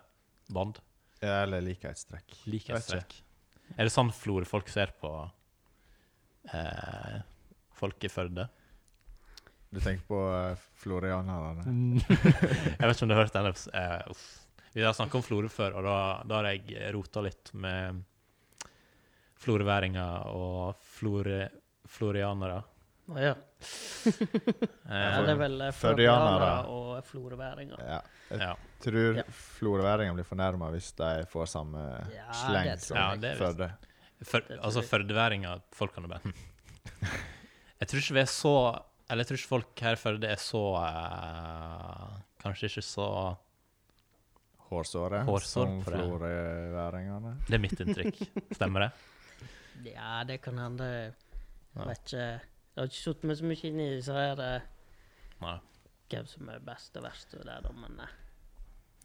Speaker 1: bånd?
Speaker 2: Ja, eller likhetstrekk.
Speaker 1: Likhetstrekk. Er det sånn Florø-folk ser på eh, folk i Førde?
Speaker 2: Du tenker på eh, florianerne?
Speaker 1: Jeg vet ikke om du har hørt den episoden. eh, uff. Vi har snakket om Florø før, og da, da har jeg rota litt med florøværinger og flore, florianere.
Speaker 3: Å, ja. ja, det er vel
Speaker 2: Førdianere.
Speaker 3: eh, førdianere og florøværinger.
Speaker 2: Ja. Jeg
Speaker 1: Ja.
Speaker 2: tror
Speaker 3: Ja.
Speaker 2: florøværingene blir fornærma hvis de får samme
Speaker 3: Ja,
Speaker 2: sleng
Speaker 3: det tror
Speaker 2: som
Speaker 1: jeg. Ja, det er
Speaker 2: Førde.
Speaker 1: Før-
Speaker 3: Det tror
Speaker 1: altså
Speaker 3: jeg.
Speaker 1: førdeværinger, folk kan jo bare hm. Jeg tror ikke vi er så Eller jeg tror ikke folk her i Førde er så eh, Kanskje ikke så
Speaker 2: Hårsåret
Speaker 1: Hårsår
Speaker 2: som
Speaker 1: på det.
Speaker 2: florøværingene.
Speaker 1: Det er mitt inntrykk. Stemmer det?
Speaker 3: Ja, det kan hende.
Speaker 1: Ja.
Speaker 3: Jeg vet ikke. Jeg har ikke satt meg så mye inn i så her, eh,
Speaker 1: Nei.
Speaker 3: hvem som er best og verst og det der, men eh,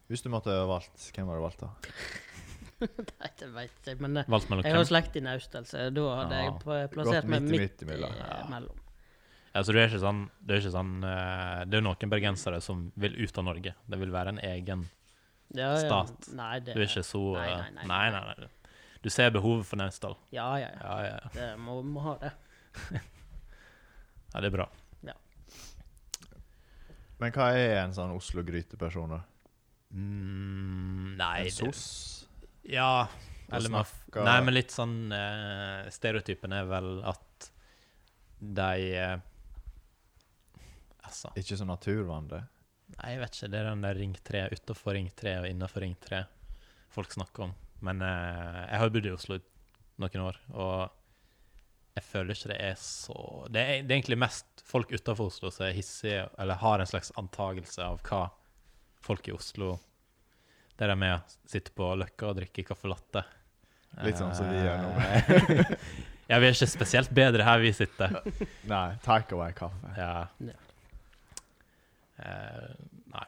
Speaker 2: Hvis du måtte ha valgt, hvem hadde du valgt da?
Speaker 3: nei, det vet jeg. Men eh,
Speaker 1: Valgt mellom
Speaker 3: jeg har
Speaker 1: hvem?
Speaker 3: slekt i Naustdal, så da hadde
Speaker 1: Ja.
Speaker 3: jeg pl- plassert meg
Speaker 2: midt i- midt
Speaker 3: midt eh,
Speaker 2: imellom.
Speaker 1: Ja.
Speaker 3: imellom.
Speaker 1: Altså, det er ikke sånn, det er ikke sånn eh, Det er jo noen bergensere som vil ut av Norge. Det vil være en egen
Speaker 3: Ja, ja.
Speaker 1: Stat.
Speaker 3: Nei, det,
Speaker 1: Du er ikke så
Speaker 3: Nei,
Speaker 1: eh,
Speaker 3: nei, nei,
Speaker 1: nei, nei, nei. Du ser behovet for Naustdal.
Speaker 3: Ja, ja, ja.
Speaker 1: Ja, ja, ja.
Speaker 3: Det må, må ha det.
Speaker 1: ja, det er bra.
Speaker 2: Men hva er en sånn Oslo-gryteperson, da?
Speaker 1: Mm, nei
Speaker 2: En
Speaker 1: det-
Speaker 2: SOS?
Speaker 1: Ja.
Speaker 2: Da
Speaker 1: Eller man,
Speaker 2: snakker-
Speaker 1: nei, men litt sånn eh, Stereotypen er vel at de eh, Altså
Speaker 2: Ikke så naturvande?
Speaker 1: Nei, jeg vet ikke. Det er den der Ring 3, utenfor Ring 3 og innenfor Ring 3 folk snakker om. Men eh, jeg har jo bodd i Oslo i noen år, og jeg føler ikke det er så Det er, det er egentlig mest folk utenfor Oslo som er hissige, eller har en slags antagelse av hva folk i Oslo Der de er med sitter på Løkka og drikker caffè latte.
Speaker 2: Litt sånn som vi gjør nå.
Speaker 1: nå. ja, vi er ikke spesielt bedre her vi sitter.
Speaker 2: Nei, take away-kaffe.
Speaker 1: Ja.
Speaker 3: Ja.
Speaker 1: Eh, nei.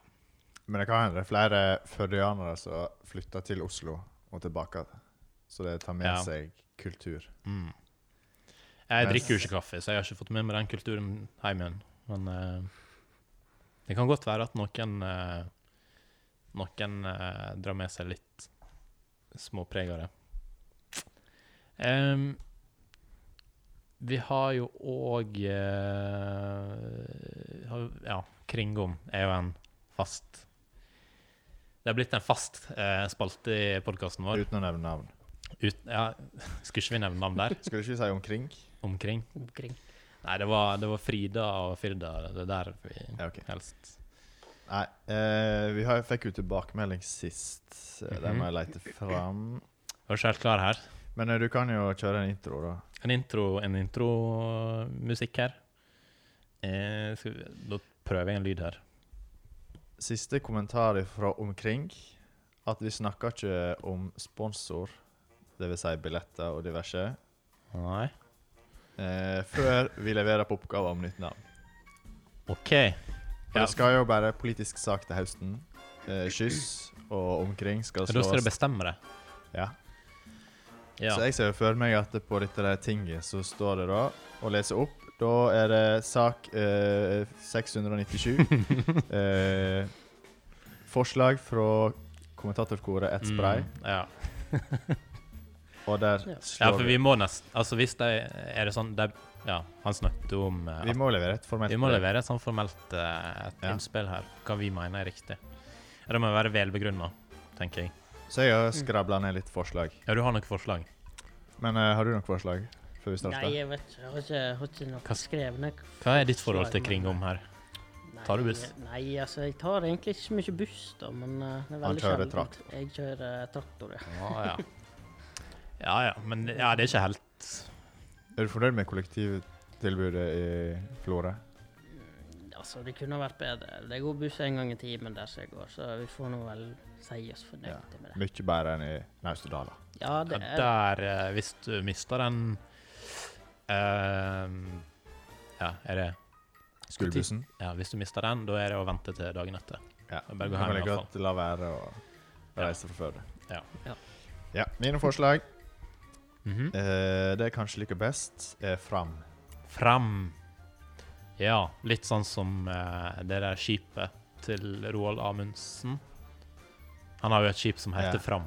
Speaker 2: Men det kan hende det er flere førdianere som flytter til Oslo og tilbake. Så det tar med
Speaker 1: Ja.
Speaker 2: seg kultur.
Speaker 1: Mm. Jeg
Speaker 2: Men-
Speaker 1: drikker jo ikke kaffe, så jeg har ikke fått med meg den kulturen hjem igjen. Men eh, det kan godt være at noen eh, Noen eh, drar med seg litt småpreg av det. Em, vi har jo òg Ja, Kringom er jo en fast Det har blitt en fast eh, spalte i podkasten vår.
Speaker 2: Uten å nevne navn.
Speaker 1: Ut, ja, skulle ikke vi nevne navn der?
Speaker 2: Skal du ikke si omkring?
Speaker 1: Omkring?
Speaker 3: omkring.
Speaker 1: Nei, det var, det var Frida og Firda. Det er der vi
Speaker 2: Ja, ok.
Speaker 1: helst
Speaker 2: Nei, eh, vi har, fikk jo tilbakemelding sist. eh, Der må jeg lete fram.
Speaker 1: Var du ikke helt klar her?
Speaker 2: Men eh, du kan jo kjøre en intro, da.
Speaker 1: En intro, en intromusikk her. Eh, skal vi, da prøver jeg en lyd her.
Speaker 2: Siste kommentar fra omkring. At vi snakker ikke om sponsor, dvs. Si billetter og diverse,
Speaker 1: Nei.
Speaker 2: eh, før vi leverer på oppgaver om nytt navn.
Speaker 1: OK.
Speaker 2: For
Speaker 1: Ja.
Speaker 2: Det skal jo være politisk sak til høsten. Eh, kyss og omkring skal
Speaker 1: Men da skal du
Speaker 2: slås.
Speaker 1: bestemme det.
Speaker 2: Ja.
Speaker 1: Ja.
Speaker 2: Så jeg ser jo for meg at på dette der tinget så står det da å lese opp. Da er det sak eh, 697. eh, forslag fra kommentatorkoret Ett Spray,
Speaker 1: Mm, ja.
Speaker 2: og der
Speaker 3: Ja.
Speaker 1: ja,
Speaker 2: slår
Speaker 1: for vi må nesten Altså, hvis de Er det sånn de, Ja, han snakket om eh,
Speaker 2: vi, vi må levere et
Speaker 1: at
Speaker 2: formelt
Speaker 1: vi må
Speaker 2: brev.
Speaker 1: levere et sånn formelt eh, et
Speaker 2: Ja.
Speaker 1: innspill her. Hva vi mener er riktig. Ja, Det må være velbegrunna, tenker jeg.
Speaker 2: Så jeg har skrabla ned litt forslag.
Speaker 1: Ja, du har noen forslag?
Speaker 2: Men eh, har du noen forslag før vi starter?
Speaker 3: Nei, jeg vet ikke. Jeg har ikke, jeg har ikke
Speaker 1: Hva-
Speaker 3: noe skrevne
Speaker 1: Hva er ditt forhold til
Speaker 3: forslag, men-
Speaker 1: Kringom her?
Speaker 3: Nei,
Speaker 1: Tar du buss?
Speaker 3: Nei, altså, jeg tar egentlig ikke så mye buss, da, men eh, det er
Speaker 2: Han
Speaker 3: veldig
Speaker 2: kjører
Speaker 3: sjeldent.
Speaker 2: traktor.
Speaker 3: Jeg kjører eh, traktor, ja.
Speaker 1: Ja, ja. ja, ja. Men ja, det er ikke helt
Speaker 2: Er du fornøyd med kollektivtilbudet i Florø?
Speaker 3: Altså, det kunne vært bedre. Det går buss en gang i timen der som jeg går, så vi får nå vel si oss fornøyde med det.
Speaker 2: Mye bedre enn i Naustdala.
Speaker 3: Ja,
Speaker 1: Ja,
Speaker 3: det er
Speaker 1: Der, eh, hvis du mister den eh, Ja, er det
Speaker 2: Skolebussen.
Speaker 1: Ja, hvis du mister den, da er det å vente til dagen etter.
Speaker 2: Ja.
Speaker 1: Jeg
Speaker 2: Det
Speaker 1: bare går
Speaker 2: kan
Speaker 1: hjem
Speaker 2: vel
Speaker 1: i hvert
Speaker 2: godt la være å
Speaker 1: Ja.
Speaker 2: reise fra Førde.
Speaker 1: Ja.
Speaker 3: Ja.
Speaker 2: Ja, Mine forslag,
Speaker 1: Mhm.
Speaker 2: eh, det jeg kanskje liker best, er Fram.
Speaker 1: Fram. Ja, litt sånn som eh, det der skipet til Roald Amundsen. Han har jo et skip som heter
Speaker 2: Ja.
Speaker 1: Fram.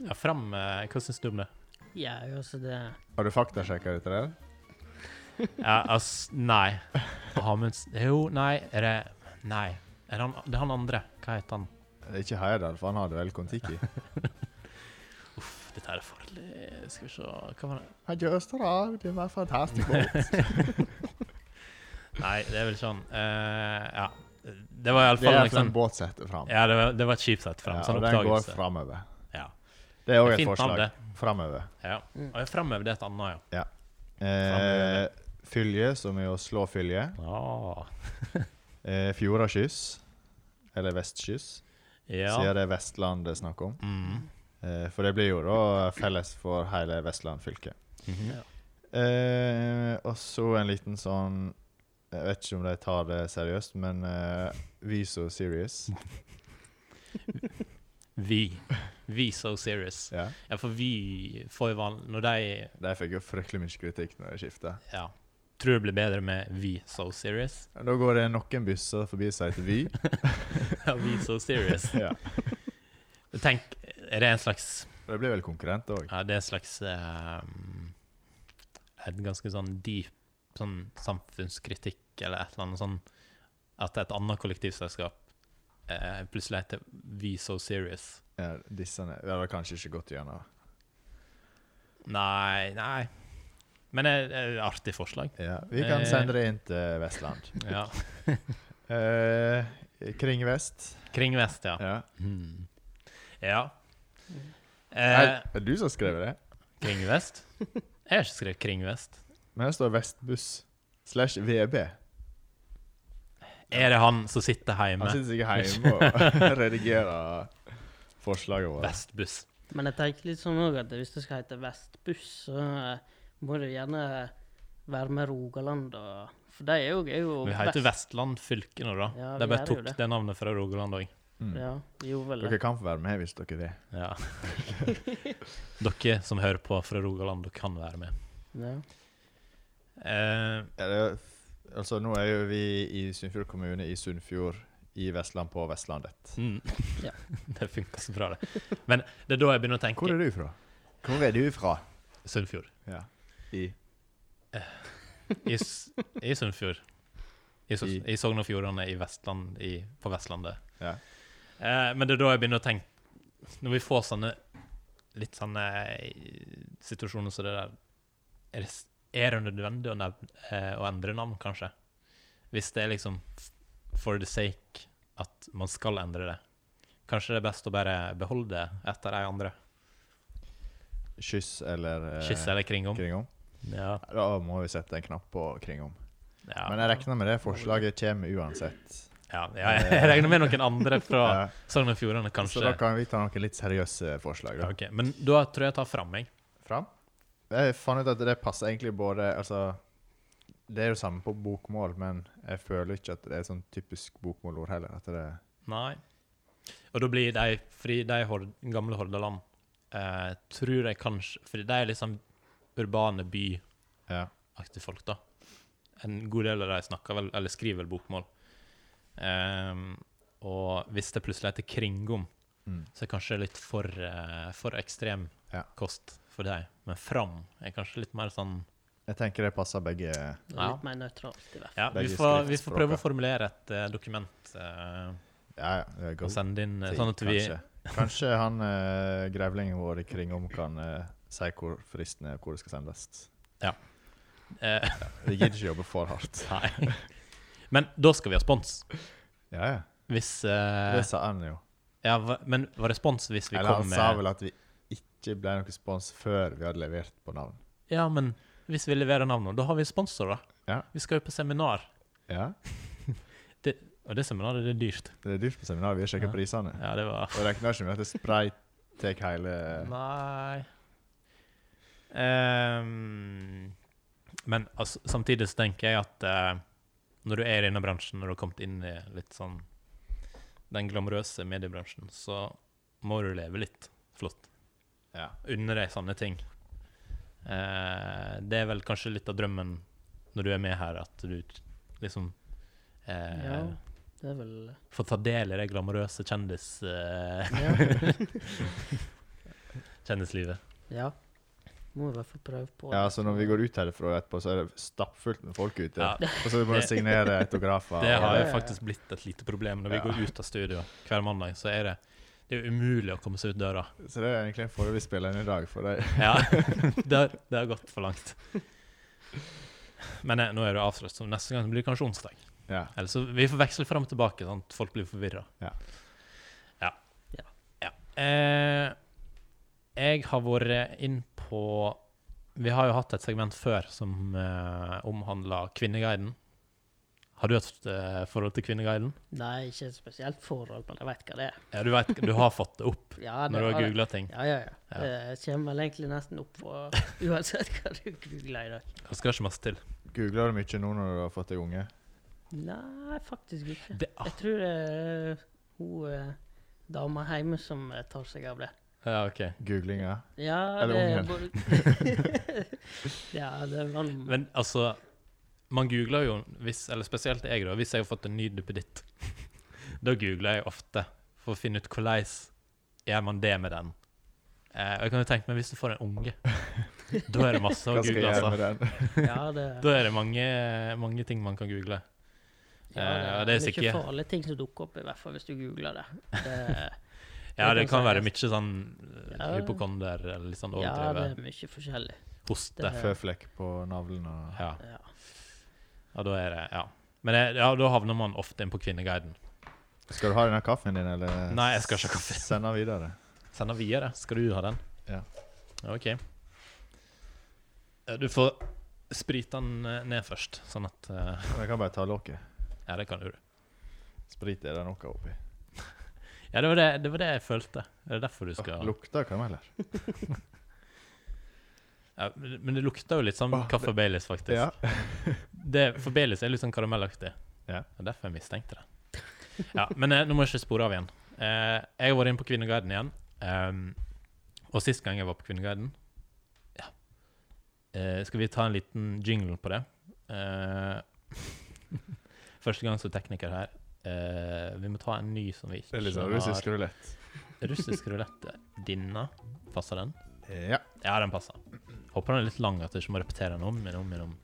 Speaker 1: Ja, Fram eh, Hva syns du om det?
Speaker 3: Ja, altså, det
Speaker 2: Har du faktasjekka dette der?
Speaker 1: Ja, ass, nei. Amundsen Jo, nei, er det Nei. Er han, det er han andre. Hva heter han?
Speaker 2: Det er Ikke Heyerdahl, for han hadde vel Kon-Tiki.
Speaker 1: Uff, dette her er farlig. Skal vi se Hva var det?
Speaker 2: Han gjør strav, det var fantastisk båt.
Speaker 1: Nei, det er vel sånn eh, Ja. Det var
Speaker 2: Det
Speaker 1: iallfall
Speaker 2: er
Speaker 1: en
Speaker 2: for en
Speaker 1: sånn
Speaker 2: båt som heter Fram.
Speaker 1: Ja, det var, det var et kjipt sett fram.
Speaker 2: Ja,
Speaker 1: sånn
Speaker 2: og den går
Speaker 1: oppdagelse.
Speaker 2: framover.
Speaker 1: Ja.
Speaker 2: Det er òg
Speaker 1: Det er
Speaker 2: et
Speaker 1: fint navn,
Speaker 2: forslag.
Speaker 1: det.
Speaker 2: Framover.
Speaker 1: Ja. Og jeg fremhever det et annet,
Speaker 2: Eh, fylje, som er å slå fylje.
Speaker 1: ja. Ah,
Speaker 2: Eh, Fjordakyss, eller Vestkyss,
Speaker 1: ja.
Speaker 2: siden det er Vestland det er snakk om.
Speaker 1: Mm.
Speaker 2: Eh, for det blir jo da felles for hele Vestland fylke.
Speaker 1: Mhm.
Speaker 2: Eh, og så en liten sånn Jeg vet ikke om de tar det seriøst, men eh, vi så serious.
Speaker 1: Vi. Vi so serious.
Speaker 2: Ja.
Speaker 1: Ja, for vi får jo vanlig Når de
Speaker 2: De fikk jo fryktelig mye kritikk når de skifta.
Speaker 1: Ja. Tror det blir bedre med vi so serious.
Speaker 2: Da går det noen busser forbi som heter Vy.
Speaker 1: Ja, vi so serious.
Speaker 2: ja.
Speaker 1: Tenk, er det en slags
Speaker 2: Det blir vel konkurrent òg.
Speaker 1: Ja, det er en slags eh, Et ganske sånn deep sånn samfunnskritikk eller et eller annet sånn At et annet kollektivselskap eh, plutselig heter We So Serious.
Speaker 2: Ja, disse er- ja, det har kanskje ikke gått gjennom.
Speaker 1: Nei, nei. Men det er et artig forslag.
Speaker 2: Ja. Vi kan
Speaker 1: Eh.
Speaker 2: sende det inn til Vestland.
Speaker 1: Ja.
Speaker 2: Eh, kring vest.
Speaker 1: Kring vest, ja.
Speaker 2: Ja.
Speaker 1: Hmm. Ja. Eh,
Speaker 2: Er, er du som skrev det?
Speaker 1: kring vest? Jeg har ikke skrevet kring vest.
Speaker 2: Men det står Vestbuss slash VB.
Speaker 1: Er det han som sitter
Speaker 2: Han
Speaker 1: hjemme?
Speaker 2: sitter sikkert hjemme og redigerer forslaget vårt.
Speaker 1: Vestbuss.
Speaker 3: Men jeg tenker litt sånn òg at hvis det skal hete Vestbuss, så eh, må det jo gjerne være med Rogaland og For de er jo, er jo
Speaker 1: Vi heter Vestland fylke nå, da.
Speaker 3: Ja,
Speaker 1: De
Speaker 3: vi
Speaker 1: bare
Speaker 3: gjør jo
Speaker 1: tok det.
Speaker 3: det.
Speaker 1: navnet fra Rogaland òg.
Speaker 2: Mm.
Speaker 3: Ja, vi gjorde vel
Speaker 2: Dere
Speaker 3: det.
Speaker 2: kan få være med hvis dere vil.
Speaker 1: Ja. dere som hører på fra Rogaland, dere kan være med.
Speaker 3: Ja.
Speaker 1: Eh,
Speaker 2: Ja, det, er jo f- altså, nå er jo vi i Sunnfjord kommune i Sunnfjord i Vestland på Vestlandet.
Speaker 1: mm.
Speaker 3: Ja.
Speaker 1: det funka så bra, det. Men det er da jeg begynner å
Speaker 2: Hvor
Speaker 1: tenke
Speaker 2: er du fra? Hvor er du fra?
Speaker 1: Sunnfjord.
Speaker 2: Ja. I.
Speaker 1: I, S- i Sunnfjord. I, so
Speaker 2: I-
Speaker 1: I Sogn og Fjordane, i Vestland, i, på Vestlandet.
Speaker 2: Ja.
Speaker 1: Eh, men det er da jeg begynner å tenke Når vi får sånne litt sånne eh, situasjoner som det der Er det, s- er det nødvendig å, nev- eh, å endre navn, kanskje? Hvis det er liksom f- for the sake at man skal endre det. Kanskje det er best å bare beholde det etter de andre.
Speaker 2: Kyss eller eh,
Speaker 1: Kysse eller kringom.
Speaker 2: Kringom.
Speaker 1: Ja.
Speaker 2: Da må vi sette en knapp på Kringom.
Speaker 1: Ja.
Speaker 2: Men jeg regner med det forslaget kommer uansett.
Speaker 1: Ja, ja, jeg regner med noen andre fra
Speaker 2: Eh,
Speaker 1: Sogn og Fjordane, kanskje.
Speaker 2: Så da kan vi ta noen litt seriøse forslag.
Speaker 1: Ja,
Speaker 2: Da.
Speaker 1: ok. Men da tror jeg jeg tar fram, jeg.
Speaker 2: Fram. Jeg fant ut at det passer egentlig både Altså, det er jo samme på bokmål, men jeg føler ikke at det er sånn typisk bokmålord heller. At det er
Speaker 1: Nei. Og da blir de Fordi de hord, gamle Hordaland eh, tror jeg kanskje Fordi de er liksom urbane byaktige
Speaker 2: ja.
Speaker 1: folk, da. En god del av de snakker vel, eller skriver vel bokmål. Ehm, og hvis det plutselig heter Kringom,
Speaker 2: Mm.
Speaker 1: så er det kanskje litt for, eh, for ekstrem
Speaker 2: Ja.
Speaker 1: kost for deg. Men Fram er kanskje litt mer sånn
Speaker 2: Jeg tenker det passer begge.
Speaker 3: Litt
Speaker 1: Ja.
Speaker 3: mer nøytralt, i hvert fall.
Speaker 1: Ja, vi
Speaker 2: Begge
Speaker 1: får, vi får
Speaker 2: skriftspråka.
Speaker 1: prøve å formulere et eh, dokument eh,
Speaker 2: Ja, ja. Det er
Speaker 1: og
Speaker 2: godt.
Speaker 1: sende inn eh,
Speaker 2: ting,
Speaker 1: sånn at vi
Speaker 2: kanskje. Kanskje han eh, grevlingen vår i Kringom kan eh, si hvor fristen er, og hvor det skal sendes.
Speaker 1: eh,
Speaker 2: Vi gidder ikke jobbe for hardt.
Speaker 1: Nei. Men da skal vi ha spons.
Speaker 2: Ja, ja.
Speaker 1: Hvis
Speaker 2: Det
Speaker 1: eh,
Speaker 2: sa han jo.
Speaker 1: ja, hva- Men var det spons hvis vi
Speaker 2: Eller han
Speaker 1: kom
Speaker 2: sa
Speaker 1: med
Speaker 2: vel at vi ikke ble noen spons før vi hadde levert på navn.
Speaker 1: Ja, men hvis vi leverer navnet, da har vi sponsorer.
Speaker 2: Ja.
Speaker 1: Vi skal jo på seminar,
Speaker 2: Ja,
Speaker 1: og det seminaret det er dyrt.
Speaker 2: det er dyrt på seminar. Vi har sjekket
Speaker 1: Ja.
Speaker 2: prisene.
Speaker 1: Ja, det var
Speaker 2: Og regner ikke med at det spray tar hele
Speaker 1: Nei Ehm, Men altså, samtidig så tenker jeg at eh, når du er i denne bransjen, når du har kommet inn i litt sånn den glamorøse mediebransjen, så må du leve litt flott.
Speaker 2: Ja.
Speaker 1: Unne deg sånne ting. Eh, det er vel kanskje litt av drømmen når du er med her, at du liksom eh,
Speaker 3: Ja, det er vel
Speaker 1: får ta del i det glamorøse kjendis... eh,
Speaker 3: Ja.
Speaker 1: kjendislivet.
Speaker 3: ja. Må i hvert fall prøve på
Speaker 2: Ja,
Speaker 3: det.
Speaker 2: så når vi går ut herfra etterpå, så er det stappfullt med folk ute.
Speaker 1: Ja.
Speaker 2: Og så må vi
Speaker 1: Det-
Speaker 2: signere autografer.
Speaker 1: Det
Speaker 2: og-
Speaker 1: har
Speaker 3: ja,
Speaker 1: jo
Speaker 3: ja, ja.
Speaker 1: faktisk blitt et lite problem. Når vi
Speaker 2: Ja.
Speaker 1: går ut av studio hver mandag, så er det, det er jo umulig å komme seg ut døra.
Speaker 2: Så det er egentlig en fordel vi spiller inn i dag, for det
Speaker 1: Ja, det, har, det har gått for langt. Men eh, nå er det avslørt, så neste gang blir det kanskje onsdag.
Speaker 2: Ja.
Speaker 1: Eller så Vi får veksle fram og tilbake, sånn at folk blir forvirra.
Speaker 2: Ja.
Speaker 1: Ja.
Speaker 3: Ja.
Speaker 1: Ja. Eh, jeg har vært inn på Vi har jo hatt et segment før som eh, omhandla Kvinneguiden. Har du hatt eh, forhold til Kvinneguiden?
Speaker 3: Nei, ikke et spesielt forhold, men jeg vet hva det er.
Speaker 1: Ja, du vet, du har fått det opp
Speaker 3: Ja, det
Speaker 1: når du har
Speaker 3: jeg.
Speaker 1: googla ting.
Speaker 3: Ja, ja, ja.
Speaker 1: Ja.
Speaker 3: Det kommer vel egentlig nesten opp for uansett hva du googler i dag.
Speaker 1: Det skal ikke masse til.
Speaker 2: Googler du mye nå når du har fått deg unge?
Speaker 3: Nei, faktisk ikke.
Speaker 1: Det, ah,
Speaker 3: Jeg tror det er hun eh, dama hjemme som eh, tar seg av det.
Speaker 1: ja, ok.
Speaker 2: Googlinger?
Speaker 3: Ja,
Speaker 2: Eller
Speaker 3: det er
Speaker 2: ungen.
Speaker 3: både- ja, det er vel
Speaker 1: Men altså, man googler jo hvis, Eller spesielt jeg, da. Hvis jeg har fått en ny duppeditt, da googler jeg ofte for å finne ut hvordan gjør man det med den. Eh, og jeg kan jo tenke meg hvis du får en unge, da er det masse å
Speaker 2: Hva skal jeg
Speaker 1: google.
Speaker 2: gjøre
Speaker 1: Altså.
Speaker 2: med den?
Speaker 3: Ja, det
Speaker 1: Da er det mange, mange ting man kan google.
Speaker 3: ja,
Speaker 1: eh, det er
Speaker 3: mye
Speaker 1: sikkert-
Speaker 3: farlige ting som dukker opp, i hvert fall hvis du googler det. det
Speaker 1: Ja, det
Speaker 3: Det
Speaker 1: kan
Speaker 3: kan
Speaker 1: være
Speaker 3: sies.
Speaker 1: mye sånn eh,
Speaker 3: Ja.
Speaker 1: hypokonder eller litt sånn
Speaker 3: ja, det
Speaker 1: overdrevet.
Speaker 3: er mye forskjellig.
Speaker 1: Hoste.
Speaker 3: det er-
Speaker 2: Føflekk på navlen og
Speaker 1: Ja.
Speaker 3: Ja.
Speaker 1: Ja, da er det, ja. Men det, ja, da havner man ofte inn på Kvinneguiden.
Speaker 2: Skal du ha denne kaffen din, eller
Speaker 1: Nei, jeg skal ikke ha kaffe.
Speaker 2: Send den videre.
Speaker 1: Sender videre. Skal du ha den?
Speaker 2: Ja.
Speaker 1: Ja, OK. Ja, Du får sprite den eh, ned først, sånn at eh,
Speaker 2: Jeg kan bare ta lokket.
Speaker 1: Ja, det kan du.
Speaker 2: Sprit er det nok av oppi.
Speaker 1: Ja, det var det, det var det jeg følte. Det er derfor du
Speaker 2: Åh,
Speaker 1: skal
Speaker 2: Lukter kameller.
Speaker 1: ja, Men det lukter jo litt sånn
Speaker 2: Åh,
Speaker 1: kaffe og Baileys, faktisk.
Speaker 2: Ah, Ja.
Speaker 1: Det, for Baileys er litt sånn karamellaktig.
Speaker 2: Ja.
Speaker 1: Det er derfor jeg mistenkte det. Ja, Men eh, nå må jeg ikke spore av igjen. Eh, jeg har vært inne på Kvinneguiden igjen. ehm, og sist gang jeg var på Kvinneguiden ja. eh, Skal vi ta en liten jingle på det? Eh, første gang som tekniker her. Eh, vi må ta en ny som vi
Speaker 2: Det
Speaker 1: ikke
Speaker 2: er litt sånn russisk rulett.
Speaker 1: Russisk rulett. Dinna. Passer den?
Speaker 2: Ja,
Speaker 1: Ja, den passer. Håper den er litt lang, at du ikke må repetere den om igjen om igjen. om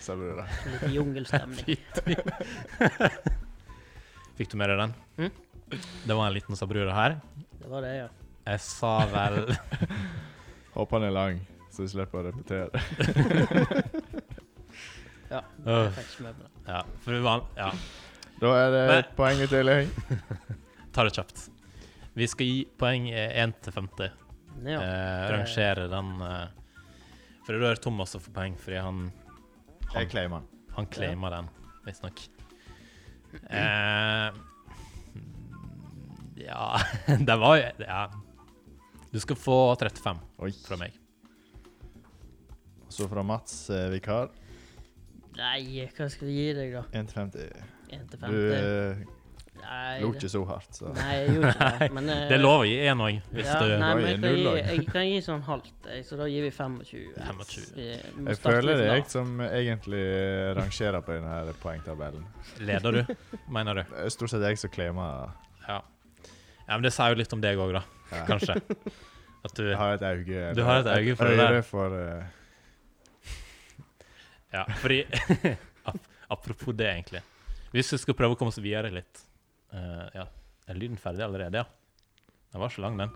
Speaker 2: sa du det.
Speaker 3: Litt jungelstemning. Mm.
Speaker 1: Fikk du med deg den? Det var en liten sabrura her.
Speaker 3: Det var det, ja.
Speaker 1: Jeg sa vel
Speaker 2: Håper han er lang, så vi slipper å repetere.
Speaker 3: Ja.
Speaker 1: Øh,
Speaker 3: Jeg fikk ikke med meg det.
Speaker 1: Ja, for det var Ja,
Speaker 2: Da er det
Speaker 1: Men-
Speaker 2: et poeng i tillegg.
Speaker 1: ta det kjapt. Vi skal gi poeng eh, 1 til 50.
Speaker 3: Ja.
Speaker 1: eh, rangere den eh, For da er det Thomas som får poeng, fordi han
Speaker 2: Jeg claimer den.
Speaker 1: Han claimer den, visstnok.
Speaker 3: Mm.
Speaker 1: Eh, ja Det var jo Ja. Du skal få 35
Speaker 2: Oi.
Speaker 1: fra meg.
Speaker 2: Så fra Mats eh, vikar.
Speaker 3: Nei, hva skal vi gi deg, da?
Speaker 2: 1,50.
Speaker 3: 1 til
Speaker 2: Du
Speaker 3: 50?
Speaker 2: eh,
Speaker 3: Nei,
Speaker 2: lo
Speaker 3: det-
Speaker 2: ikke så hardt, så
Speaker 3: Nei, jeg gjorde ikke det. Men, eh,
Speaker 1: Det er lov å gi én òg, hvis
Speaker 3: ja,
Speaker 1: du
Speaker 3: Nei,
Speaker 2: Oi,
Speaker 3: men jeg kan,
Speaker 2: null
Speaker 3: gi,
Speaker 2: lag.
Speaker 3: jeg kan gi sånn halvt, jeg, så da gir vi 25.
Speaker 1: 25.
Speaker 3: Vi må
Speaker 2: Jeg
Speaker 3: starte
Speaker 2: føler
Speaker 3: litt
Speaker 2: det er jeg
Speaker 3: lavt.
Speaker 2: som egentlig rangerer på denne her poengtabellen.
Speaker 1: Leder du, mener du?
Speaker 2: Det er stort sett jeg som claimer.
Speaker 1: Ja. ja men det sier jo litt om deg òg, da.
Speaker 2: Ja.
Speaker 1: Kanskje. At du
Speaker 2: Jeg har et auge
Speaker 1: Du har et auge for det
Speaker 2: øre
Speaker 1: der.
Speaker 2: for, eh,
Speaker 1: Ja, fordi ap- Apropos det, egentlig. Hvis vi skal prøve å komme oss videre litt Eh, Ja, er lyden ferdig allerede, ja? Den var så lang, den.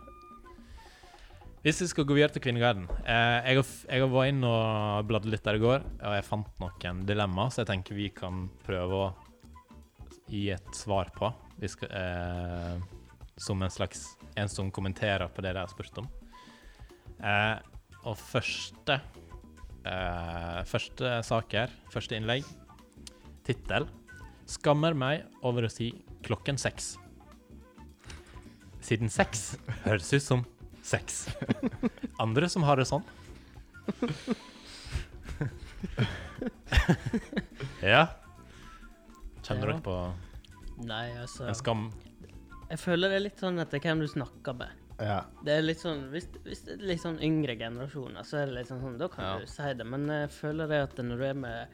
Speaker 1: Hvis vi skal gå videre til Kvinneguiden eh, Jeg, har f- jeg var inne og bladde litt der i går, og jeg fant noen dilemma, så jeg tenker vi kan prøve å gi et svar på. Vi skal, eh, som en slags En som kommenterer på det de har spurt om. Eh, og første Eh, første sak her, første innlegg. Tittel. Skammer meg over å si klokken seks. Siden seks høres ut som sex. Andre som har det sånn. ja. Kjenner
Speaker 3: Ja.
Speaker 1: dere på
Speaker 3: Nei, altså.
Speaker 1: en skam?
Speaker 3: Jeg føler det er litt sånn etter hvem du snakker med.
Speaker 2: Ja.
Speaker 3: Det er litt sånn, Hvis, hvis det er litt sånn yngre generasjoner, så er det litt sånn sånn, da kan
Speaker 1: Ja.
Speaker 3: du si det. Men jeg føler det at når du er med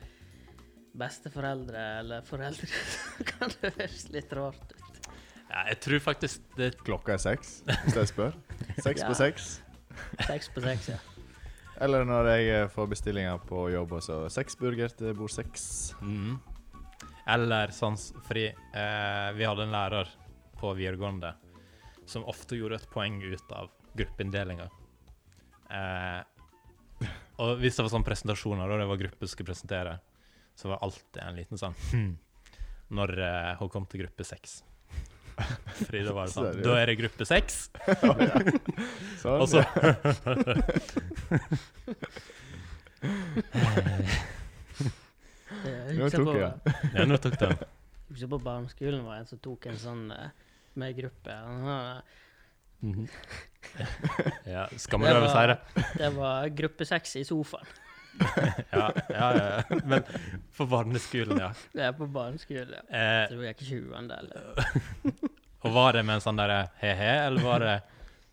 Speaker 3: besteforeldre eller foreldre, så kan det høres litt rart ut.
Speaker 1: Ja, jeg tror faktisk det
Speaker 2: Klokka er seks, hvis jeg spør. Seks
Speaker 3: Ja.
Speaker 2: på seks.
Speaker 3: Seks på seks, ja.
Speaker 2: Eller når jeg eh, får bestillinger på jobb, og så seks burger til bord seks.
Speaker 1: Mhm. Eller sånn s- Fordi eh, vi hadde en lærer på videregående som ofte gjorde et poeng ut av gruppeinndelinger. Eh, og hvis det var sånne presentasjoner, og det var gruppe som skulle presentere, så var det alltid en liten sånn hm, når eh, hun kom til gruppe seks. Fordi da var det sånn
Speaker 2: Seriøst?
Speaker 1: Da er det gruppe seks!
Speaker 2: Sånn.
Speaker 1: Og så
Speaker 3: Jeg
Speaker 2: Nå
Speaker 3: husker
Speaker 2: tok
Speaker 3: på-
Speaker 2: jeg den.
Speaker 1: Ja, nå tok den.
Speaker 3: Jeg husker på barneskolen var det en som tok en sånn eh, med gruppe. Han har-
Speaker 1: Mhm. Ja, skammer deg over å si det.
Speaker 3: det var gruppe seks i sofaen.
Speaker 1: Ja, ja, ja. Men på barneskolen, ja.
Speaker 3: Det er på barneskolen. ja. Jeg
Speaker 1: Eh,
Speaker 3: tror jeg gikk i 20. eller
Speaker 1: og var det med en sånn derre he-he, eller var det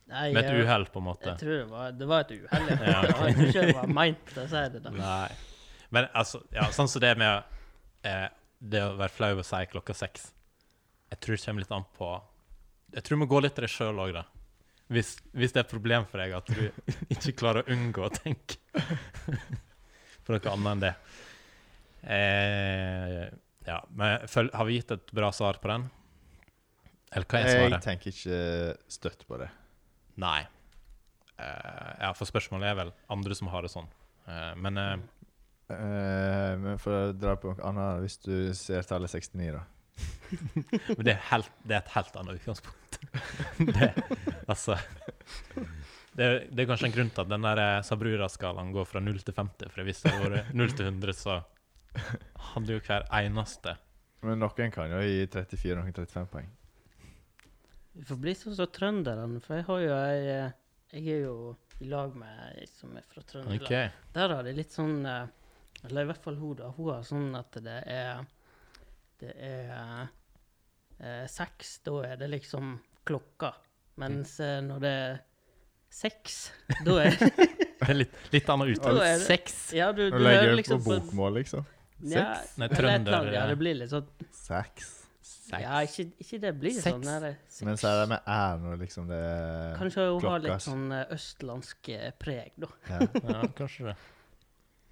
Speaker 3: Nei,
Speaker 1: med et
Speaker 3: jeg-
Speaker 1: uhell, på en måte?
Speaker 3: Jeg tror det var, det var et uhell. ja.
Speaker 1: Ja, ok.
Speaker 3: Jeg tror ikke det var meint å si det. da.
Speaker 1: Nei. Men altså, ja, sånn som det med eh, det å være flau og si klokka seks Jeg tror det kommer litt an på Jeg tror du må gå litt til deg sjøl òg, da. Hvis, hvis det er et problem for deg at du ikke klarer å unngå å tenke på noe annet enn det. Eh, ja, men føl- har vi gitt et bra svar på den? Eller hva er
Speaker 2: Jeg
Speaker 1: svaret?
Speaker 2: tenker ikke støtt på det.
Speaker 1: Nei. Eh, ja, for spørsmålet er vel andre som har det sånn. Eh, men eh,
Speaker 2: Eh, men for å dra på noe annet, hvis du ser tallet 69, da.
Speaker 1: Men det er, helt, det er et helt annet utgangspunkt. det, altså det er, det er kanskje en grunn til at den der eh, Sabrura-skalaen går fra 0 til 50. For hvis det hadde vært 0 til 100, så hadde jo hver eneste
Speaker 2: Men noen kan jo gi 34, noen 35 poeng.
Speaker 3: Vi får bli sånn som trønderne, for jeg har jo ei eh, Jeg er jo i lag med ei som er fra Trøndelag.
Speaker 1: OK.
Speaker 3: Der har de litt sånn eh, Eller i hvert fall hun, da. Hun har sånn at det er Det er eh, seks, da er det liksom klokka. Mens eh, når det er seks, da er
Speaker 1: Det er litt, litt annet
Speaker 3: Da er
Speaker 1: utgangspunkt.
Speaker 3: det-
Speaker 1: Seks.
Speaker 3: Ja, du, du
Speaker 2: Nå
Speaker 3: hører
Speaker 2: legger jeg på
Speaker 3: liksom
Speaker 1: sånn
Speaker 2: bokmål, liksom.
Speaker 3: ja,
Speaker 2: Seks?
Speaker 1: Nei,
Speaker 3: eller et eller annet,
Speaker 1: trønder,
Speaker 3: Ja,
Speaker 1: ja.
Speaker 3: det blir litt sånn
Speaker 2: Seks.
Speaker 3: Ja,
Speaker 1: Seks.
Speaker 3: ikke, ikke det blir
Speaker 1: Seks.
Speaker 3: sånn. Nei, det er seks.
Speaker 2: Men så er det med æren og liksom det
Speaker 3: Kanskje hun har
Speaker 2: klokka,
Speaker 3: litt
Speaker 2: altså.
Speaker 3: sånn eh, østlandsk eh, preg, da.
Speaker 2: ja.
Speaker 1: Ja, kanskje det.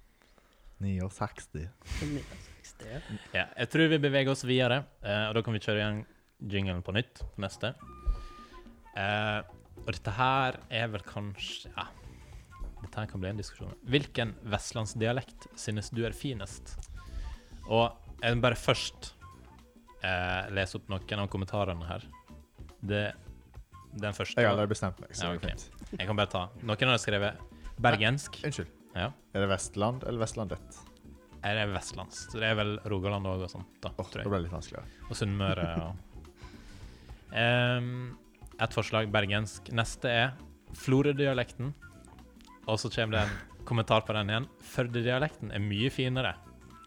Speaker 2: 69.
Speaker 3: Som i seks, det er.
Speaker 1: Ja, jeg tror vi beveger oss videre, eh, og da kan vi kjøre igjen jinglen på nytt. Neste. Eh, Og dette her er vel kanskje ja, Dette her kan bli en diskusjon. Hvilken vestlandsdialekt synes du er finest? Og jeg må bare først eh, lese opp noen av kommentarene her. Det, den første
Speaker 2: Jeg har aldri bestemt meg. Så
Speaker 1: Ja,
Speaker 2: det
Speaker 1: ok.
Speaker 2: går fint.
Speaker 1: Jeg kan bare ta. Noen har skrevet bergensk.
Speaker 2: Unnskyld.
Speaker 1: Ja.
Speaker 2: Er det Vestland eller Vestlandet?
Speaker 1: Er det vestlands? Så det er vel Rogaland òg og sånt, da,
Speaker 2: Åh,
Speaker 1: tror
Speaker 2: det
Speaker 1: jeg.
Speaker 2: ble litt vanskeligere.
Speaker 1: Og Sunnmøre og Ehm, Et forslag bergensk. Neste er Florø-dialekten. Og så kommer det en kommentar på den igjen. Førde-dialekten er mye finere.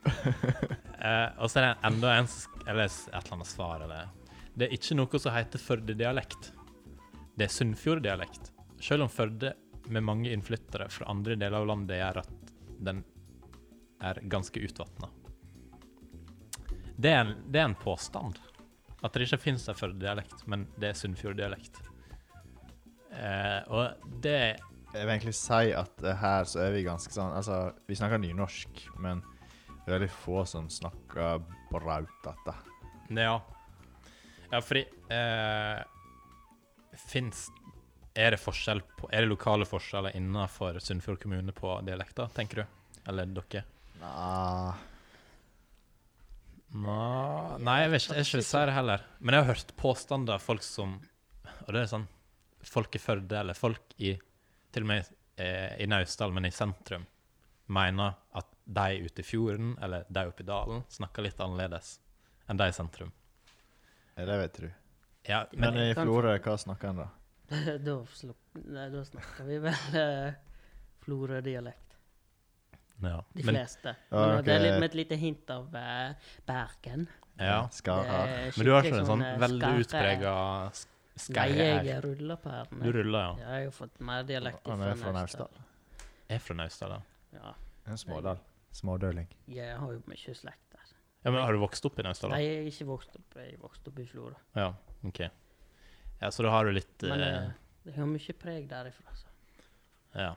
Speaker 1: Eh, og så er det enda en sk- Eller s- et eller annet svar. Eller. Det er ikke noe som heter Førde-dialekt. Det er Sunnfjord-dialekt. Selv om Førde med mange innflyttere fra andre deler av landet gjør at den er ganske utvatna. Det er, en, det er en påstand. At det ikke finnes en Førde-dialekt, men det er Sunnfjord-dialekt. Eh, og det
Speaker 2: Jeg vil egentlig si at eh, her så er vi ganske sånn Altså, vi snakker nynorsk, men det er veldig få som snakker brautete.
Speaker 1: Ja. Ja, fordi eh, Fins Er det forskjell på Er det lokale forskjeller innenfor Sunnfjord kommune på dialekter, tenker du? Eller dere?
Speaker 2: Nei
Speaker 1: Nå, nei, jeg vet ikke, jeg vil ikke si det heller. Men jeg har hørt påstander av folk som Og det er sånn Folk i Førde, eller folk i Til og med eh, i Naustdal, men i sentrum, mener at de ute i fjorden, eller de oppe i dalen, snakker litt annerledes enn de i sentrum.
Speaker 2: Det vet du.
Speaker 1: Ja,
Speaker 2: Men
Speaker 1: men
Speaker 2: i Florø, hva snakker en da?
Speaker 3: da, sluk- nei, da snakker vi vel eh, Florø-dialekt.
Speaker 1: ja,
Speaker 3: De
Speaker 1: men,
Speaker 3: fleste.
Speaker 2: Ja,
Speaker 3: Men
Speaker 2: ok.
Speaker 3: Det er litt, med et lite hint av eh, Bergen.
Speaker 1: ja.
Speaker 2: Skal ha.
Speaker 3: Det er
Speaker 1: Men du har ikke
Speaker 3: skikkelig
Speaker 1: en sånn
Speaker 3: eh,
Speaker 1: veldig
Speaker 3: skarpe-
Speaker 1: utprega
Speaker 3: Nei,
Speaker 1: skeier?
Speaker 3: jeg ruller på her.
Speaker 1: Du ruller, ja.
Speaker 3: Jeg har jo fått mer dialekt
Speaker 2: Han er fra Naustdal.
Speaker 1: Jeg er fra Naustdal, ja.
Speaker 3: Ja,
Speaker 2: En smådal. Smådøling.
Speaker 3: jeg har jo mye slekt der.
Speaker 1: ja. Men har du vokst opp i Naustdal?
Speaker 3: Nei,
Speaker 1: da?
Speaker 3: jeg er ikke vokst opp, jeg er vokst opp i Florø.
Speaker 1: Ja, OK. Ja, så da har du litt
Speaker 3: Men
Speaker 1: eh,
Speaker 3: eh, det har mye preg derifra. Så.
Speaker 1: Ja.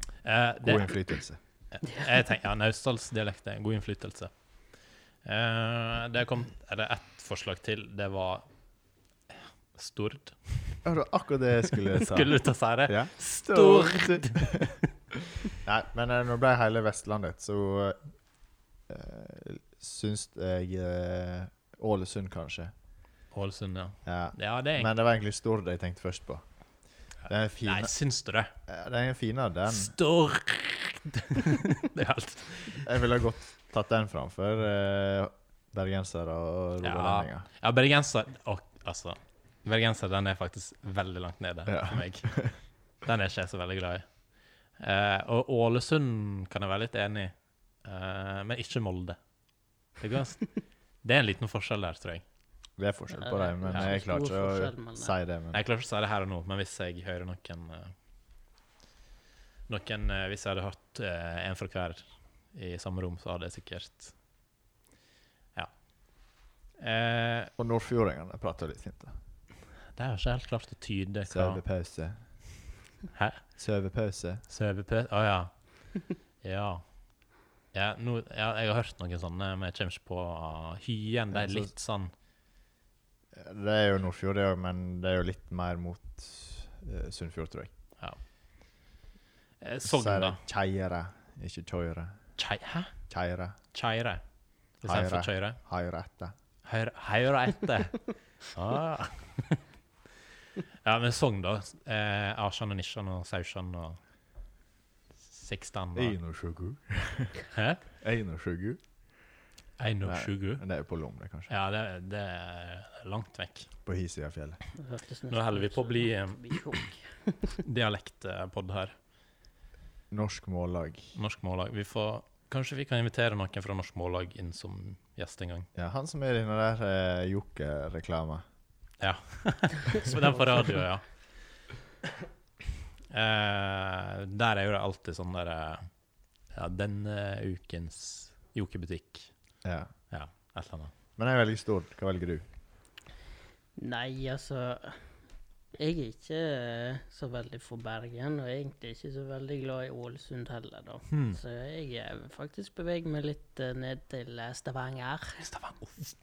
Speaker 1: Eh, det, eh,
Speaker 2: God innflytelse.
Speaker 1: jeg tenker, ja, Naustdalsdialekt er en god innflytelse. Eh, det kom eller ett forslag til. Det var Stord.
Speaker 2: Ja, det var akkurat det jeg skulle ta.
Speaker 1: Skulle du ta si det?
Speaker 2: Ja.
Speaker 1: Stord.
Speaker 2: Nei, men eh, når det ble hele Vestlandet, så uh, syns jeg eh, Ålesund, kanskje.
Speaker 1: Ålesund, ja.
Speaker 2: Ja.
Speaker 1: Ja, det er
Speaker 2: Men det var egentlig Stord jeg tenkte først på. Den er
Speaker 1: Nei,
Speaker 2: fina-
Speaker 1: syns du det?
Speaker 2: eh, den er finere, den.
Speaker 1: Stord. det er alt.
Speaker 2: Jeg ville godt tatt den framfor eh, bergensere og rogalendinger.
Speaker 1: Ja, bergenser og, Altså, bergenser den er faktisk veldig langt nede
Speaker 2: Ja.
Speaker 1: for meg. Den er ikke jeg så veldig glad i. Eh, og Ålesund kan jeg være litt enig i, eh, men ikke Molde. Det, går, det er en liten forskjell der, tror jeg.
Speaker 2: Det er forskjell på
Speaker 3: Ja, det er
Speaker 2: dem, men
Speaker 1: ikke
Speaker 2: jeg
Speaker 3: så
Speaker 2: klarer
Speaker 3: stor forskjell,
Speaker 2: ikke å
Speaker 3: men-
Speaker 2: si det. Men
Speaker 1: Jeg klarer ikke å si det her og nå, men hvis jeg hører noen eh, Noen, eh, Hvis jeg hadde hørt eh, en fra hver i samme rom, så hadde jeg sikkert Ja. Eh,
Speaker 2: og nordfjordingene prater litt fint. da.
Speaker 1: det er jo ikke helt klart å tyde hva
Speaker 2: Sovepause.
Speaker 1: Hæ?
Speaker 2: Sovepause.
Speaker 1: Sovepøs? Å ja. Ja. Ja, nå- ja. Jeg har hørt noen sånne, men jeg kommer ikke på ah, Hyen. Det
Speaker 2: Ja,
Speaker 1: er
Speaker 2: så-
Speaker 1: litt sånn
Speaker 2: Det er jo Nordfjord, det òg, men det er jo litt mer mot eh, Sunnfjord, tror jeg.
Speaker 1: eh,
Speaker 2: Så er
Speaker 1: Sogn,
Speaker 2: det
Speaker 1: da.
Speaker 2: Kjeire, ikke Tøyre.
Speaker 1: Kjei, hæ?
Speaker 2: Kjeire.
Speaker 1: Kjeire. Istedenfor Kjøyre.
Speaker 2: Hairette.
Speaker 1: Høyre, høyre etter. Ah. Ja, men Sogn, da. Eh, Arsjan og Nisjan og Sausjan og Sikstan. og-
Speaker 2: Einosjugu.
Speaker 1: Hæ?
Speaker 2: Einosjugu.
Speaker 1: Eino
Speaker 2: Nei.
Speaker 1: Sjugu.
Speaker 2: Men det er jo på Lomre, kanskje.
Speaker 1: Ja, det, det er langt vekk.
Speaker 2: På Hisøyafjellet.
Speaker 3: Det hørtes
Speaker 1: Nå holder vi på å bli, eh,
Speaker 3: bli tjukk.
Speaker 1: Dialektpod eh, her.
Speaker 2: Norsk Mållag.
Speaker 1: Norsk Mållag. Vi får, kanskje vi kan invitere noen fra Norsk Mållag inn som gjest en gang.
Speaker 2: Ja, han som er i den der eh, Joker-reklama.
Speaker 1: Så den på radio, ja. Eh, der er jo det alltid sånn der eh, Ja, denne ukens jokerbutikk.
Speaker 2: Ja.
Speaker 1: Ja, et eller annet.
Speaker 2: Men jeg velger Stord. Hva velger du?
Speaker 3: Nei, altså Jeg er ikke eh, så veldig for Bergen, og egentlig ikke så veldig glad i Ålesund heller, da.
Speaker 1: Hmm.
Speaker 3: Så jeg eh, faktisk beveger meg litt eh, ned til eh, Stavanger.
Speaker 1: Stavanger.